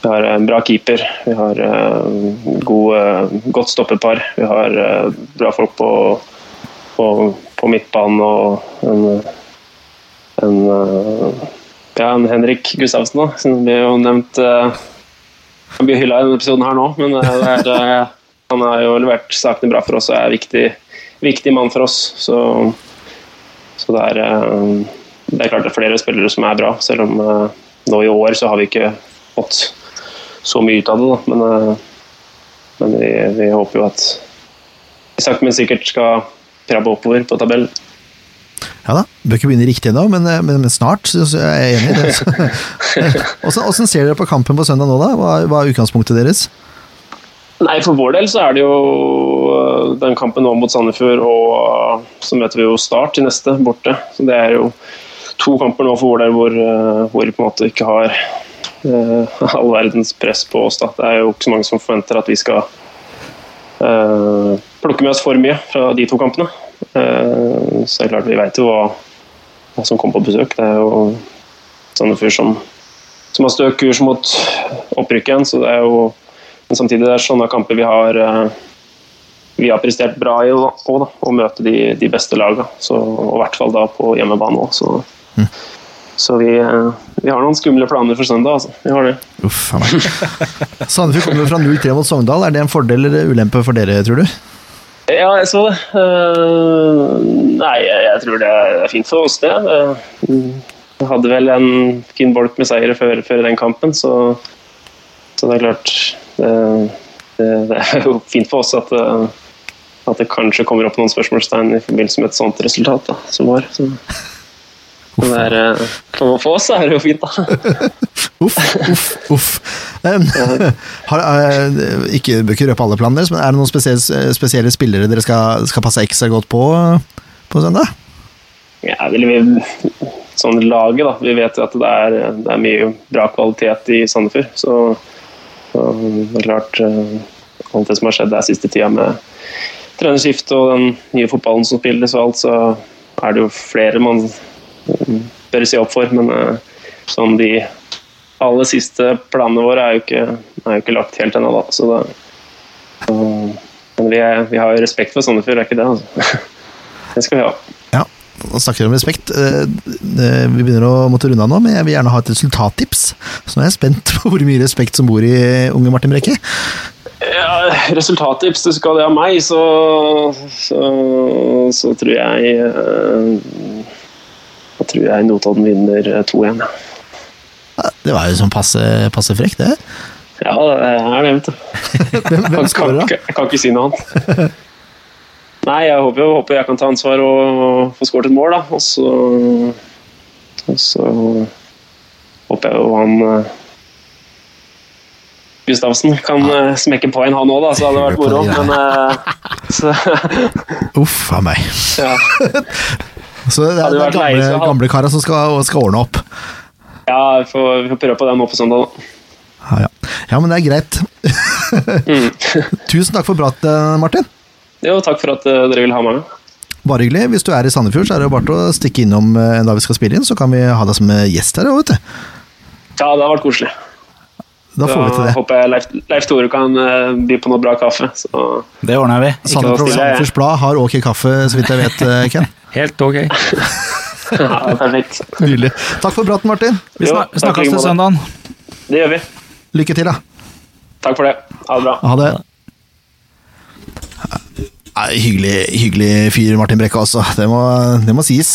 S5: vi har en bra keeper, vi har eh, god, eh, godt stoppepar, vi har eh, bra folk på, på, på midtbanen og en, en, eh, ja, en Henrik Gustavsen, da, som blir jo nevnt eh, Han blir hylla i denne episoden her nå, men eh, det er, eh, han har jo levert sakene bra for oss og er en viktig, viktig mann for oss. så... Så det er, eh, det er klart det er flere spillere som er bra, selv om eh, nå i år så har vi ikke fått så mye ut av det. Da. Men, eh, men vi, vi håper jo at vi sakte, men sikkert skal krabbe oppover på tabellen.
S1: Ja da, bør ikke begynne riktig ennå, men, eh, men, men snart. Så så er jeg enig i det. Åssen ser dere på kampen på søndag nå, da? Hva, hva er utgangspunktet deres?
S5: Nei, for vår del så er det jo øh, den kampen nå mot Sandefjord og øh, så møter vi jo Start i neste, borte. Så det er jo to kamper nå for vår del hvor, øh, hvor vi på en måte ikke har øh, all verdens press på oss. Da. Det er jo ikke så mange som forventer at vi skal øh, plukke med oss for mye fra de to kampene. Eh, så det er klart vi veit jo hva, hva som kommer på besøk. Det er jo Sandefjord som, som har stø kurs mot opprykk igjen, så det er jo men samtidig det er sånne kamper vi har eh, vi har prestert bra i å- på da, å møte de, de beste lagene. Så, og i hvert fall da på hjemmebane òg. Så, så vi, eh, vi har noen skumle planer for søndag. Altså. Vi har det.
S1: Uff a meg. Sandefjord kommer jo fra 0-3 mot Sogndal. Er det en fordel eller ulempe for dere, tror du?
S5: Ja, jeg så det. Eh, nei, jeg, jeg tror det er fint for oss, det. Eh, Jeg hadde vel en fin bolk med seire før, før den kampen, så, så det er klart eh, det, det er jo fint for oss at, eh, at det kanskje kommer opp noen spørsmålstegn i forbindelse med et sånt resultat da, som var. Så. Men det er, eh, for, for oss er det jo fint, da.
S1: Uff, uff, uff. Um, har, eh, ikke bør ikke røpe alle planene deres, men er det noen spesielle, spesielle spillere dere skal, skal passe ekstra godt på eh, på søndag?
S5: Ja, vil vi, sånn laget, da. Vi vet jo at det er, det er mye bra kvalitet i Sandefjord. Så, så det er klart eh, Alt det som har skjedd der siste tida med trenerskiftet og den nye fotballen som spilles og alt, så er det jo flere man eh, bør se opp for. Men eh, sånn de aller siste planene våre er jo ikke, er jo ikke lagt helt ennå, da. Så det, så- men vi, er, vi har jo respekt for Sandefjord, det er ikke det? Altså. Det skal vi ha.
S1: Ja, da snakker vi om respekt. Eh, eh, Vi begynner å måtte runde av nå, men jeg vil gjerne ha et resultattips. Så nå er jeg spent på hvor mye respekt som bor i unge Martin Brekke.
S5: Ja, resultattips, du skal det av meg, så, så, så tror jeg eh, Da tror jeg Notodden vinner eh, 2-1. ja.
S1: Ja, Det var jo sånn passe, passe frekt, det.
S5: Ja, det er det, vet du.
S1: Hvem, hvem
S5: Jeg kan,
S1: skårer da?
S5: ikke- jeg kan ikke si noe annet. Nei, jeg håper, jeg håper jeg kan ta ansvar og få skåret et mål, da. Og så, og så håper jeg jo han eh, Gustavsen kan eh, smekke på en, han òg, da, så hadde det vært moro. Men eh, så,
S1: Uff a meg.
S5: ja.
S1: Så det er,
S5: Hadde
S1: det er
S5: vært
S1: gamle,
S5: leie, så hadde-
S1: gamle kara som skal, skal ordne opp.
S5: Ja, vi får, vi får prøve på det nå på søndag. da.
S1: Ja, ja. ja, men det er greit. Tusen takk for praten, Martin.
S5: Mm. Jo, takk for at eh, dere vil ha meg med.
S1: Bare hyggelig. Hvis du er i Sandefjord, så er det jo bare til å stikke innom eh, da vi skal spille inn, så kan vi ha deg som eh, gjest her. Vet du.
S5: Ja, det har vært koselig.
S1: Da får vi til det.
S5: håper jeg Leif, Leif Tore kan eh, by på noe bra kaffe. Så
S3: Det ordner vi.
S5: noe
S1: Sandefjord-
S5: stille, jeg.
S1: Sandefjords Blad har ok kaffe, så vidt jeg vet, eh, Ken.
S2: Helt ok.
S5: ja, perfekt.
S1: Nydelig. Takk for praten, Martin.
S3: Vi
S5: Jo,
S3: snak-
S5: takk i like
S3: snakkes til
S5: måte.
S3: søndagen.
S5: Det gjør vi.
S1: Lykke til, da.
S5: Takk for det. Ha det bra.
S1: Ha det. Nei, hyggelig, hyggelig fyr, Martin Brekke, altså. Det må, det må sies.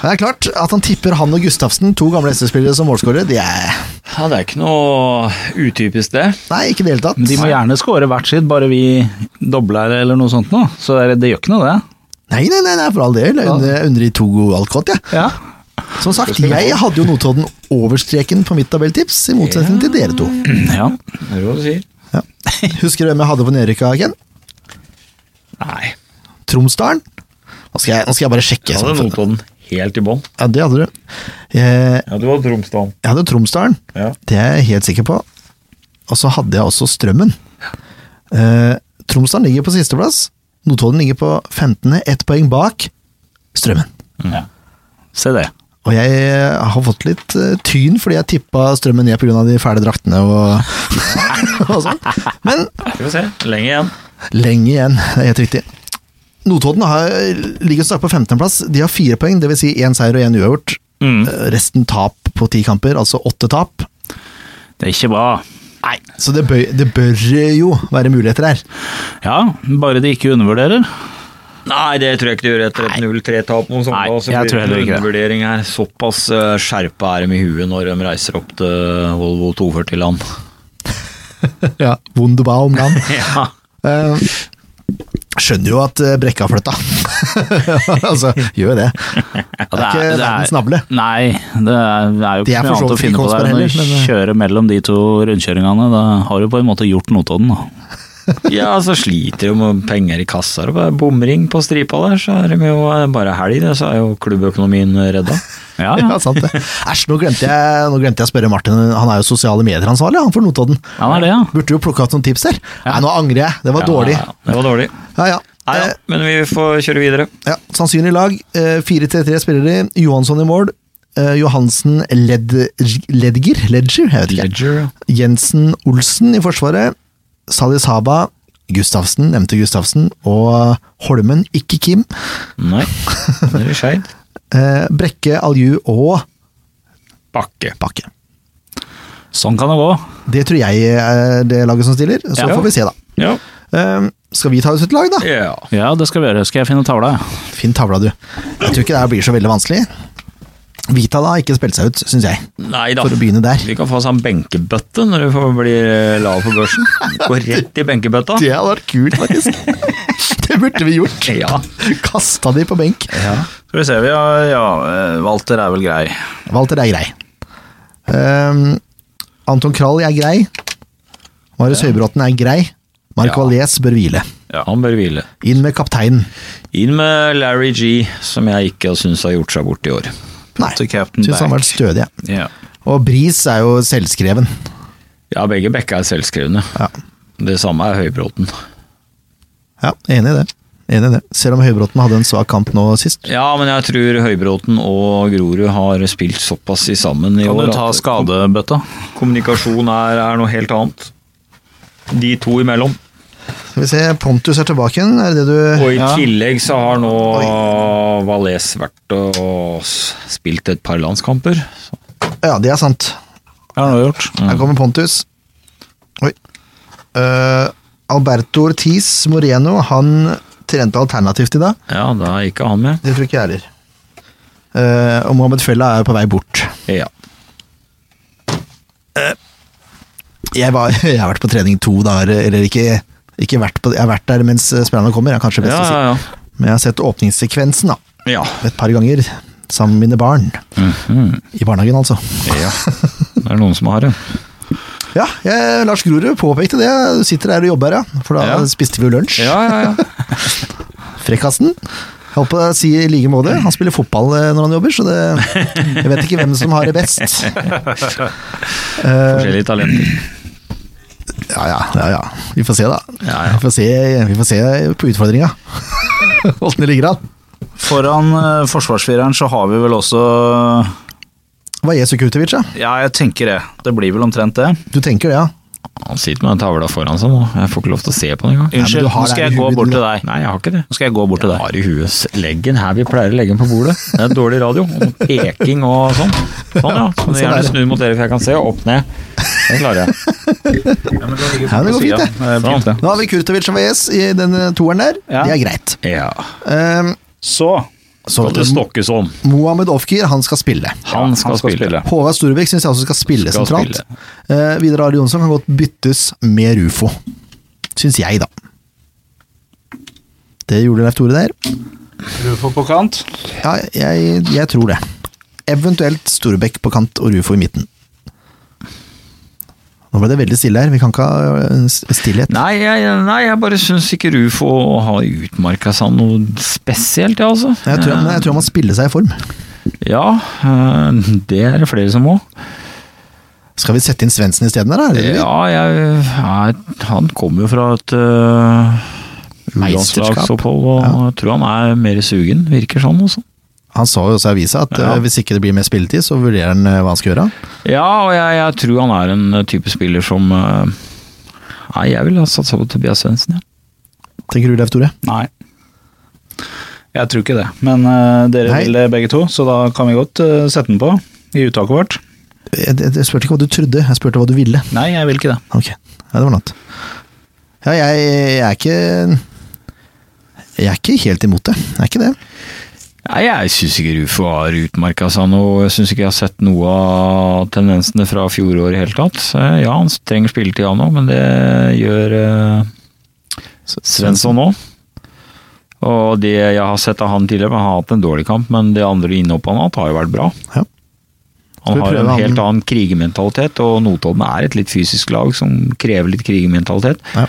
S1: Det er klart at han tipper han og Gustavsen, to gamle SV-spillere, som målskårere. Det er
S2: Ja, det er ikke noe utypisk, det.
S1: Nei, ikke i det hele tatt.
S3: Men de må gjerne skåre hvert sitt, bare vi dobler eller noe sånt nå. Så det, er- det gjør ikke noe, det.
S1: Nei, nei, nei, nei, for all del. Jeg unner- jeg unner de to alt godt, jeg.
S3: Ja.
S1: Som sagt, jeg hadde jo Notodden over streken på mitt tabelltips, i motsetning til dere to.
S3: ja.
S2: Hører du hva du sier?
S1: Ja. Husker du hvem jeg hadde på nedrykka, Ken?
S2: Nei.
S1: Tromsdalen? Nå skal jeg, nå skal jeg bare sjekke.
S2: Jeg hadde
S1: sånn.
S2: Notodden helt i bånn.
S1: Ja, det hadde du. Eh,
S2: Ja, du hadde Tromsdalen.
S1: Jeg hadde Tromsdalen,
S2: Ja.
S1: det er jeg helt sikker på. Og så hadde jeg også Strømmen. Eh, Tromsdalen ligger på sisteplass. Notodden ligger på 15., ett poeng bak Strømmen.
S3: Se det.
S1: Og jeg har fått litt eh, tyn fordi jeg tippa Strømmen ned pga. de fæle draktene og, og sånn. Men
S2: Skal vi se. Lenge igjen.
S1: lenge igjen, det er helt riktig. Notodden har, ligger snart på 15.-plass. De har fire poeng, dvs. Si én seier og én uavgjort. Eh, Resten tap på ti kamper, altså åtte tap.
S3: Det er ikke bra.
S1: Nei, så det bør, det bør jo være muligheter her.
S3: Ja, bare de ikke undervurderer.
S2: Nei, det tror jeg ikke du gjør etter et 0-3-tap mot Sogndal.
S3: Nei,
S2: så
S3: jeg
S2: blir
S3: tror
S2: det
S3: heller
S2: en
S3: ikke det.
S2: undervurdering her. Såpass eh, skjerpa er de i huet når de reiser opp til Volvo 240-land.
S1: Ja. Wunderbar om land.
S2: Ja.
S1: Eh, skjønner jo at eh, Brekka flytta. altså, gjør det.
S3: Ja,
S1: Det er ikke verdens navle.
S3: Nei, det er, det er jo
S1: De er
S3: ikke
S1: for så
S3: noe annet å
S1: vidt ikke
S3: finne på der
S1: Kongsberg
S3: enn å
S1: heller, men- eh,
S3: kjøre mellom de to rundkjøringene. Da har du på en måte gjort Notodden, da.
S2: Ja, så sliter de med penger i kassa. og bare Bomring på stripa der, så er de jo eh, bare helg, det, så er jo klubbøkonomien redda.
S3: Ja,
S1: Ja,
S3: ja.
S1: sant det. Æsj, nå glemte jeg nå glemte jeg å spørre Martin. Han er jo sosiale medier-ansvarlig han for Notodden.
S3: Han er det, ja.
S1: Burde jo plukke opp noen tips her. Nei, nå angrer jeg. Det var dårlig.
S2: Ja, det var dårlig.
S1: Ja, ja.
S2: Nei, ja.
S1: Eh,
S2: Men vi får kjøre videre.
S1: Ja, sannsynlig lag. Eh, 4-3-3 spillere. Johansson i mål. Eh, Johansen Led Ledger? Ledger? Jeg vet ikke.
S2: Ledger, ja.
S1: Jensen Olsen i forsvaret. Salis Haba. Gustavsen, nevnte Gustavsen. Og Holmen, ikke Kim.
S2: Nei, det er skeid.
S1: Eh, Brekke, Alju og
S2: Bakke.
S1: Bakke.
S3: Sånn kan det gå.
S1: Det tror jeg er det laget som stiller. Så
S2: Ja.
S1: får vi se, da.
S2: Ja.
S1: Eh, skal vi ta ut et lag, da?
S2: ja.
S3: Ja, det skal vi gjøre. Skal jeg finne tavla? ja?
S1: Finn tavla, du. Jeg tror ikke det her blir så veldig vanskelig. Vitala har ikke spilt seg ut, syns jeg.
S2: Nei da.
S1: For å begynne der.
S2: Vi kan få oss en benkebøtte når du får- blir lav på børsen. Gå rett i benkebøtta.
S1: Det hadde vært kult, faktisk. det burde vi gjort.
S2: Ja.
S1: Kasta de på benk.
S3: Skal vi se, vi har Ja, eh, Walter er vel grei.
S1: Walter er grei. Ehm, Anton Krall er grei. Marius Høybråten er grei. Mark
S2: Ja.
S1: Valles bør hvile.
S2: Han bør hvile.
S1: Inn med kapteinen.
S2: Inn med Larry G, som jeg ikke syns har gjort seg bort i år.
S1: Nei,
S3: Til
S1: syns
S3: captain
S1: han har
S3: back.
S1: vært stødig. jeg.
S3: Ja.
S1: Og Bris er jo selvskreven.
S2: Ja, begge bekka er selvskrevne.
S1: Ja,
S2: Det samme er Høybråten.
S1: ja enig i det. Enig i det. Selv om Høybråten hadde en svak kamp nå sist.
S2: Ja, men jeg tror Høybråten og Grorud har spilt såpass i sammen i
S3: Kan
S2: år
S3: du ta
S2: at
S3: skadebøtta?
S2: kommunikasjon er, er noe helt annet. De to imellom.
S1: Skal vi se, Pontus er tilbake igjen, er det det du
S2: Og i
S3: Ja.
S2: tillegg så har nå Valais vært og og spilt et par landskamper. Så-
S1: Ja, det er sant.
S3: Ja, det har du gjort.
S2: Mm.
S1: Her kommer Pontus. Oi. Eh, Alberto Ortiz Moreno, han trente alternativt i dag.
S2: Ja, da er ikke han med.
S1: Det tror ikke jeg heller. Eh, og Mohammed Fella er på vei bort.
S2: Ja.
S1: Jeg, var, jeg har vært på trening to dager, eller ikke, ikke vært på, jeg har vært der mens spillerne kommer, er kanskje best
S2: Ja, ja,
S1: å si. Men jeg har sett åpningssekvensen da,
S2: ja.
S1: et par ganger, sammen med mine barn.
S3: Mhm.
S1: I barnehagen, altså.
S2: ja. Det er noen som har det.
S1: Ja, jeg, Lars Grorud påpekte det. Du sitter der og jobber, ja. For da
S2: Ja.
S1: spiste vi jo lunsj.
S2: Ja, ja, ja.
S1: Frekkasen. Jeg holdt på å si i like måte. Han spiller fotball eh, når han jobber, så det, jeg vet ikke hvem som har det best.
S2: Forskjellige talenter.
S1: Ja, ja, ja, ja. Vi får se, da.
S2: Ja, ja.
S1: Vi, får se, vi får se på utfordringa. Åssen det ligger an.
S3: Foran eh, forsvarsfireren så har vi vel også
S1: Hva er Sukutovic, ja?
S3: Ja, jeg tenker det. Det blir vel omtrent det.
S1: Du tenker det, ja?
S2: Han sitter med den tavla foran seg nå. Jeg får ikke lov til å se på den engang.
S1: men
S3: Unnskyld,
S1: du har
S3: nå skal
S1: det i
S3: jeg gå
S1: huet,
S3: bort
S1: du.
S3: til deg.
S2: Nei, jeg har ikke det.
S3: Nå skal jeg gå bort til deg.
S2: Har i huet leggen her vi pleier å legge den på bordet. Det er dårlig radio. og Peking og sånn. Sånn, ja. Så
S1: Sånn
S2: du gjerne
S1: er det.
S2: snu mot dere, for jeg kan se. Opp ned. Det klarer jeg.
S1: ja det går fint, det.
S3: Eh, fint, det.
S1: Da har vi Kurtovic og VS i den toeren der.
S3: Ja.
S1: Det er greit.
S2: Ja.
S1: Um,
S3: Så
S1: så
S2: Skal det stokkes om?
S1: Mohammed Ofkir, han skal spille.
S2: Han skal, spille.
S1: Håvard Storbekk syns jeg også skal spille
S2: Skal
S1: sentralt. Eh, Vidar Arild Jonsson kan godt byttes med Rufo. Syns jeg, da. Det gjorde Leif Tore der.
S3: Rufo på kant.
S1: Ja, jeg, jeg tror det. Eventuelt Storbekk på kant og Rufo i midten. Nå ble det veldig stille her. Vi kan ikke ha øh, s- stillhet.
S2: Nei, jeg, nei, jeg bare syns ikke Rufo har utmarka seg noe spesielt, jeg, altså.
S1: Jeg tror, men jeg tror man spiller seg i form.
S2: Ja, eh, det er det flere som må.
S1: Skal vi sette inn Svendsen isteden, da? eller?
S2: Ja, jeg, jeg, han kommer jo fra et uh,
S1: Meisterskap.
S2: landslagsopphold, og jeg tror han er mer sugen, virker sånn også.
S1: Han sa jo også i avisa at
S2: Ja.
S1: øh, hvis ikke det blir mer spilletid, så vurderer han øh, hva han skal gjøre.
S2: Ja, og jeg, jeg tror han er en type spiller som eh, Nei, jeg ville ha satsa på Tobias Svendsen, ja.
S1: Tenker du, Leif Tore?
S3: Nei. Jeg tror ikke det, men eh, dere
S1: Nei.
S3: vil det begge to, så da kan vi godt eh, sette den på i uttaket vårt.
S1: Jeg, jeg, jeg spurte ikke hva du trodde, jeg spurte hva du ville.
S3: Nei, jeg vil ikke det.
S1: Ok, ja, det var noe. annet. Ja, jeg, jeg er ikke Jeg er ikke helt imot det. Jeg er ikke det.
S2: Nei, jeg syns ikke Rufo har utmerka seg noe. Jeg syns ikke jeg har sett noe av tendensene fra fjoråret i det hele tatt. Eh, Ja, han trenger spilletid han òg, men det gjør eh, Svensson òg. Og det jeg har sett av han tidligere, men han har hatt en dårlig kamp, men det andre innhoppet han har hatt, har jo vært bra.
S1: Ja. Skal
S2: Han
S1: vi
S2: har jo
S1: prøve
S2: en
S1: han-
S2: helt annen krigermentalitet, og Notodden er et litt fysisk lag som krever litt krigermentalitet.
S1: Ja.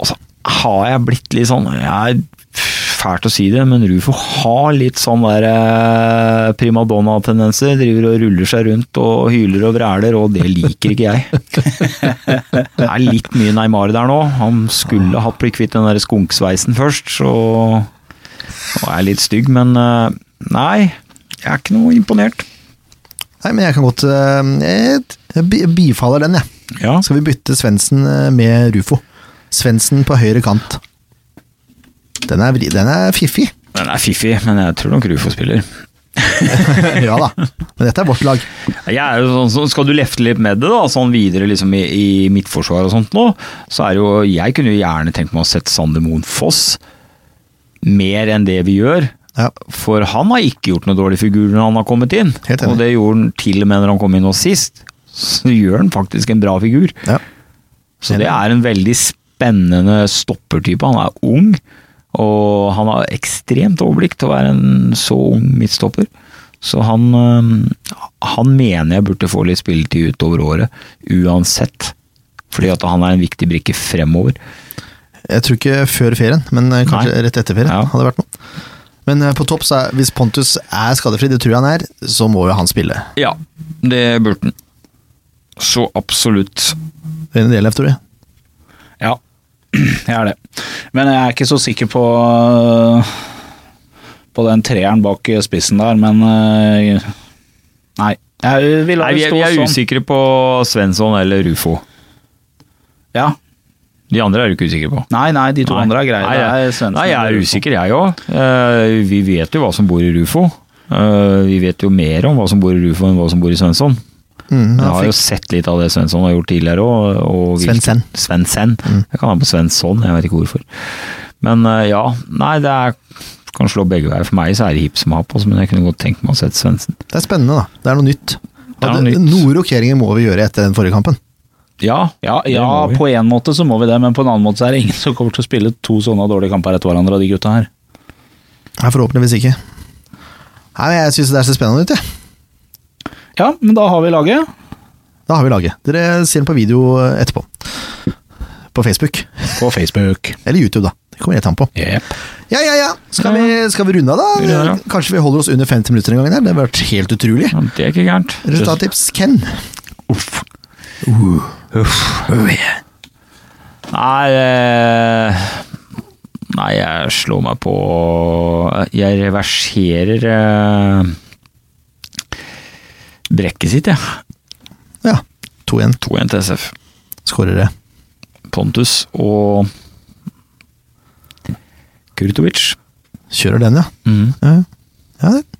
S2: Og så har jeg blitt litt sånn Jeg er fælt å si det, men Rufo har litt sånn der eh, primadonna-tendenser. Driver og ruller seg rundt og hyler og vræler, og det liker ikke jeg. Det er litt mye Neymar der nå. Han skulle hatt blitt kvitt den der skunksveisen først, så Nå er jeg litt stygg, men eh, nei. Jeg er ikke noe imponert.
S1: Nei, men jeg kan godt eh, Jeg jeg bi- bifaller den, jeg.
S2: Ja.
S1: Skal vi bytte Svendsen eh, med Rufo? Svendsen på høyre kant. Den er, vri- den er fiffig.
S2: Den er fiffig, men jeg tror nok Rufo spiller.
S1: ja da. Men dette er vårt lag.
S2: Jeg er jo sånn, som- skal du lefte litt med det, da, sånn videre liksom i, i midtforsvar og sånt nå, så er det jo Jeg kunne jo gjerne tenkt meg å sette Sander Moen Foss mer enn det vi gjør.
S1: Ja.
S2: For han har ikke gjort noe dårlig figur når han har kommet inn.
S1: Helt enig.
S2: Og det gjorde han til og med når han kom inn nå sist. Så gjør han faktisk en bra figur.
S1: ja.
S2: Så det er en veldig spennende stoppertype. Han er ung, og han har ekstremt overblikk til å være en så ung midtstopper. Så han, øhm, han mener jeg burde få litt spilletid utover året, uansett. Fordi at han er en viktig brikke fremover.
S1: Jeg tror ikke før ferien, men eh, kanskje
S2: Nei.
S1: rett etter ferien.
S2: Ja.
S1: hadde vært noe. Men eh, på topp, så er, hvis Pontus er skadefri, det tror jeg han er, så må jo han spille.
S2: Ja, det burde han. Så absolutt.
S1: Det er en del av, tror jeg.
S3: Ja, jeg er det. Men jeg er ikke så sikker på øh, på den treeren bak spissen der, men øh, Nei. Jeg vil la
S2: Nei,
S3: det
S2: vi er,
S3: stå
S2: vi er
S3: sånn.
S2: usikre på Svensson eller Rufo.
S3: Ja.
S2: De andre er du ikke usikker på.
S3: Nei, nei, de to
S2: Nei.
S3: andre er greie.
S2: Nei,
S3: Det er
S2: jeg,
S3: Svendsen
S2: nei, jeg
S3: og
S2: er
S3: Rufo.
S2: usikker, jeg òg. vi vet jo hva som bor i Rufo. Eh, vi vet jo mer om hva som bor i Rufo enn hva som bor i Svensson.
S1: Mm,
S2: Jeg
S1: han
S2: har jo
S1: fikk,
S2: sett litt av det Svensson har gjort tidligere òg. Og hvilke-
S1: Svendsen.
S2: Svendsen.
S3: Mm.
S2: Jeg kan ha på Svensson, jeg vet ikke hvorfor. Men eh, ja, nei det er kan slå begge veier. For meg så er det hipp som happ, altså, men jeg kunne godt tenke meg å sette Svendsen.
S1: det er spennende, da. Det er noe nytt.
S2: Det er
S1: Og
S2: noe
S1: det-
S2: nytt.
S1: Noen rokeringer må vi gjøre etter den forrige kampen.
S2: Ja,
S3: Ja,
S2: det
S3: ja
S2: må vi.
S3: på en måte så må vi det, men på en annen måte så er det ingen som kommer til å spille to sånne dårlige kamper etter hverandre av de gutta her.
S1: Nei, forhåpentligvis ikke. Nei, men Jeg syns det der ser spennende ut, jeg.
S3: Ja, men da har vi laget.
S1: Da har vi laget. Dere ser den på video eh, etterpå. På Facebook.
S3: På Facebook.
S1: Eller YouTube, da. Det kommer helt an på.
S3: Yep.
S1: Ja, ja, ja! Skal vi, skal vi runde av, da?
S2: Ja, ja.
S1: Kanskje vi holder oss under 50 minutter en gang her? Det har vært helt utrolig.
S2: Ja, det er ikke gærent.
S1: Resultattips Ken.
S2: Uff. Nei eh, Nei, jeg slår meg på Jeg reverserer eh, brekket sitt, jeg.
S1: Ja. 2-1.
S2: 2-1 til SF.
S1: Skårer det.
S2: Pontus og Kurtovic.
S1: Kjører den, ja.
S2: Mhm.
S1: Ja, ja. ja det-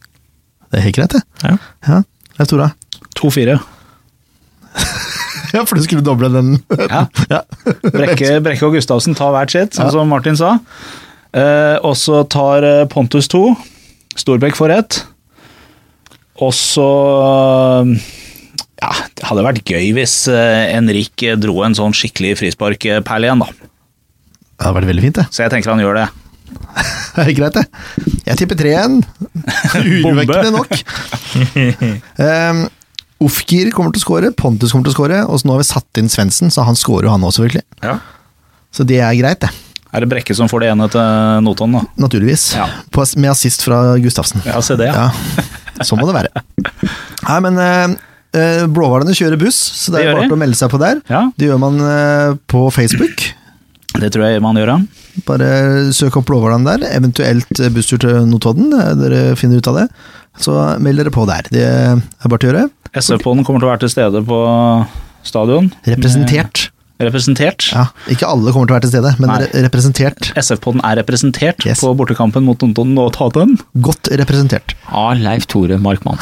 S1: det er helt greit, det.
S2: Ja.
S1: Ja. Leif Tora.
S3: 2-4.
S1: Ja, for du skulle doble den.
S3: Ja.
S1: ja.
S3: Brekke, Brekke og Gustavsen tar hvert sitt, sånn som Martin sa. Eh, og så tar eh, Pontus to. Storbekk får ett. Og så Ja, det hadde vært gøy hvis eh, Henrik eh, dro en sånn skikkelig frisparkperle igjen, da.
S1: Det hadde vært veldig fint, det.
S3: Så jeg tenker han gjør det.
S1: Det er greit, det. Jeg tipper 3-1. Urovekkende nok. Um, Ofkir kommer til å skåre, Pontus kommer til å skåre, og så nå har vi satt inn Svendsen, så han skårer jo han også, selvfølgelig.
S2: Ja.
S1: Så det er greit, det.
S3: Er det Brekke som får det ene til Notodden, da?
S1: Naturligvis.
S3: Ja.
S1: På, med assist fra Gustavsen.
S3: Ja, se det. Ja.
S1: Ja. Sånn må det være. Nei, men eh, eh, Blåhvalene kjører buss, så det
S3: Det
S1: er
S3: gjør
S1: bare
S3: de.
S1: til å melde seg på der.
S3: Ja.
S1: Det gjør man eh, på Facebook.
S3: Det tror jeg man gjør, ja.
S1: Bare søk opp Blåhvalene der, eventuelt eh, busstur til Notodden. eh, Dere finner ut av det. Så meld dere på der. Det er bare til å gjøre.
S3: SV-poden kommer til å være til stede på stadion. Eh,
S1: Representert.
S3: Representert.
S1: Ja, ikke alle kommer til å være til stede, men
S3: Nei.
S1: re representert.
S3: SF-poden er representert
S1: Yes.
S3: på bortekampen mot Notodden og Taten.
S1: Godt representert.
S2: Av Leif Tore Markmann.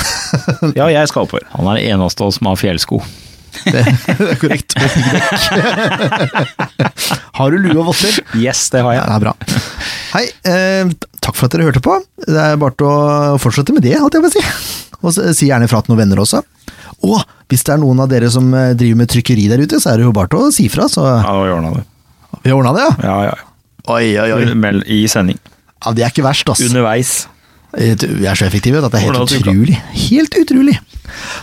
S3: Ja, jeg skal oppover.
S2: Han er den eneste av oss som har fjellsko.
S1: Det, det er korrekt. Har du lue og votter?
S3: Yes, det har
S1: Ja,
S3: jeg.
S1: det er bra. Hei, eh, takk for at dere hørte på. Det er bare til å fortsette med det, holdt jeg på å si. Og så, si gjerne fra til noen venner også. Og hvis det er noen av dere som eh, driver med trykkeri der ute, så er det jo bare til å si fra, så
S3: Ja, da gjør han det.
S1: vi har ordna det, ja.
S3: Ja, ja.
S1: Oi, oi, oi.
S2: Mel- i sending.
S1: Ja, det er ikke verst, ass.
S2: Underveis.
S1: Vi er så effektive at det er helt
S2: Hvordan typer du?
S1: utrolig. Helt utrolig.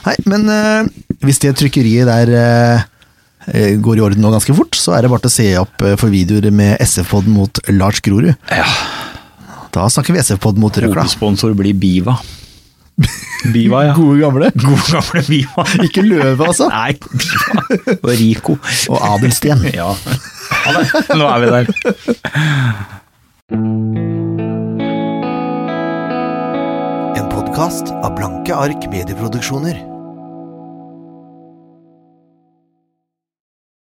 S1: Nei, men eh, hvis det trykkeriet der eh, eh, går i orden nå ganske fort, så er det bare til å se opp eh, for videoer med SF-pod mot Lars Grorud.
S2: Ja.
S1: Da snakker vi SF-pod mot Røkla.
S2: Hovedsponsor blir Biva. Biva, ja.
S1: Gode gamle.
S2: Gode gamle Biva.
S1: Ikke løve, altså.
S2: Nei, Biva og Rico.
S1: Og Adelsten.
S2: Ja. Ha det. Nå er vi der.
S6: En podkast av Blanke ark medieproduksjoner.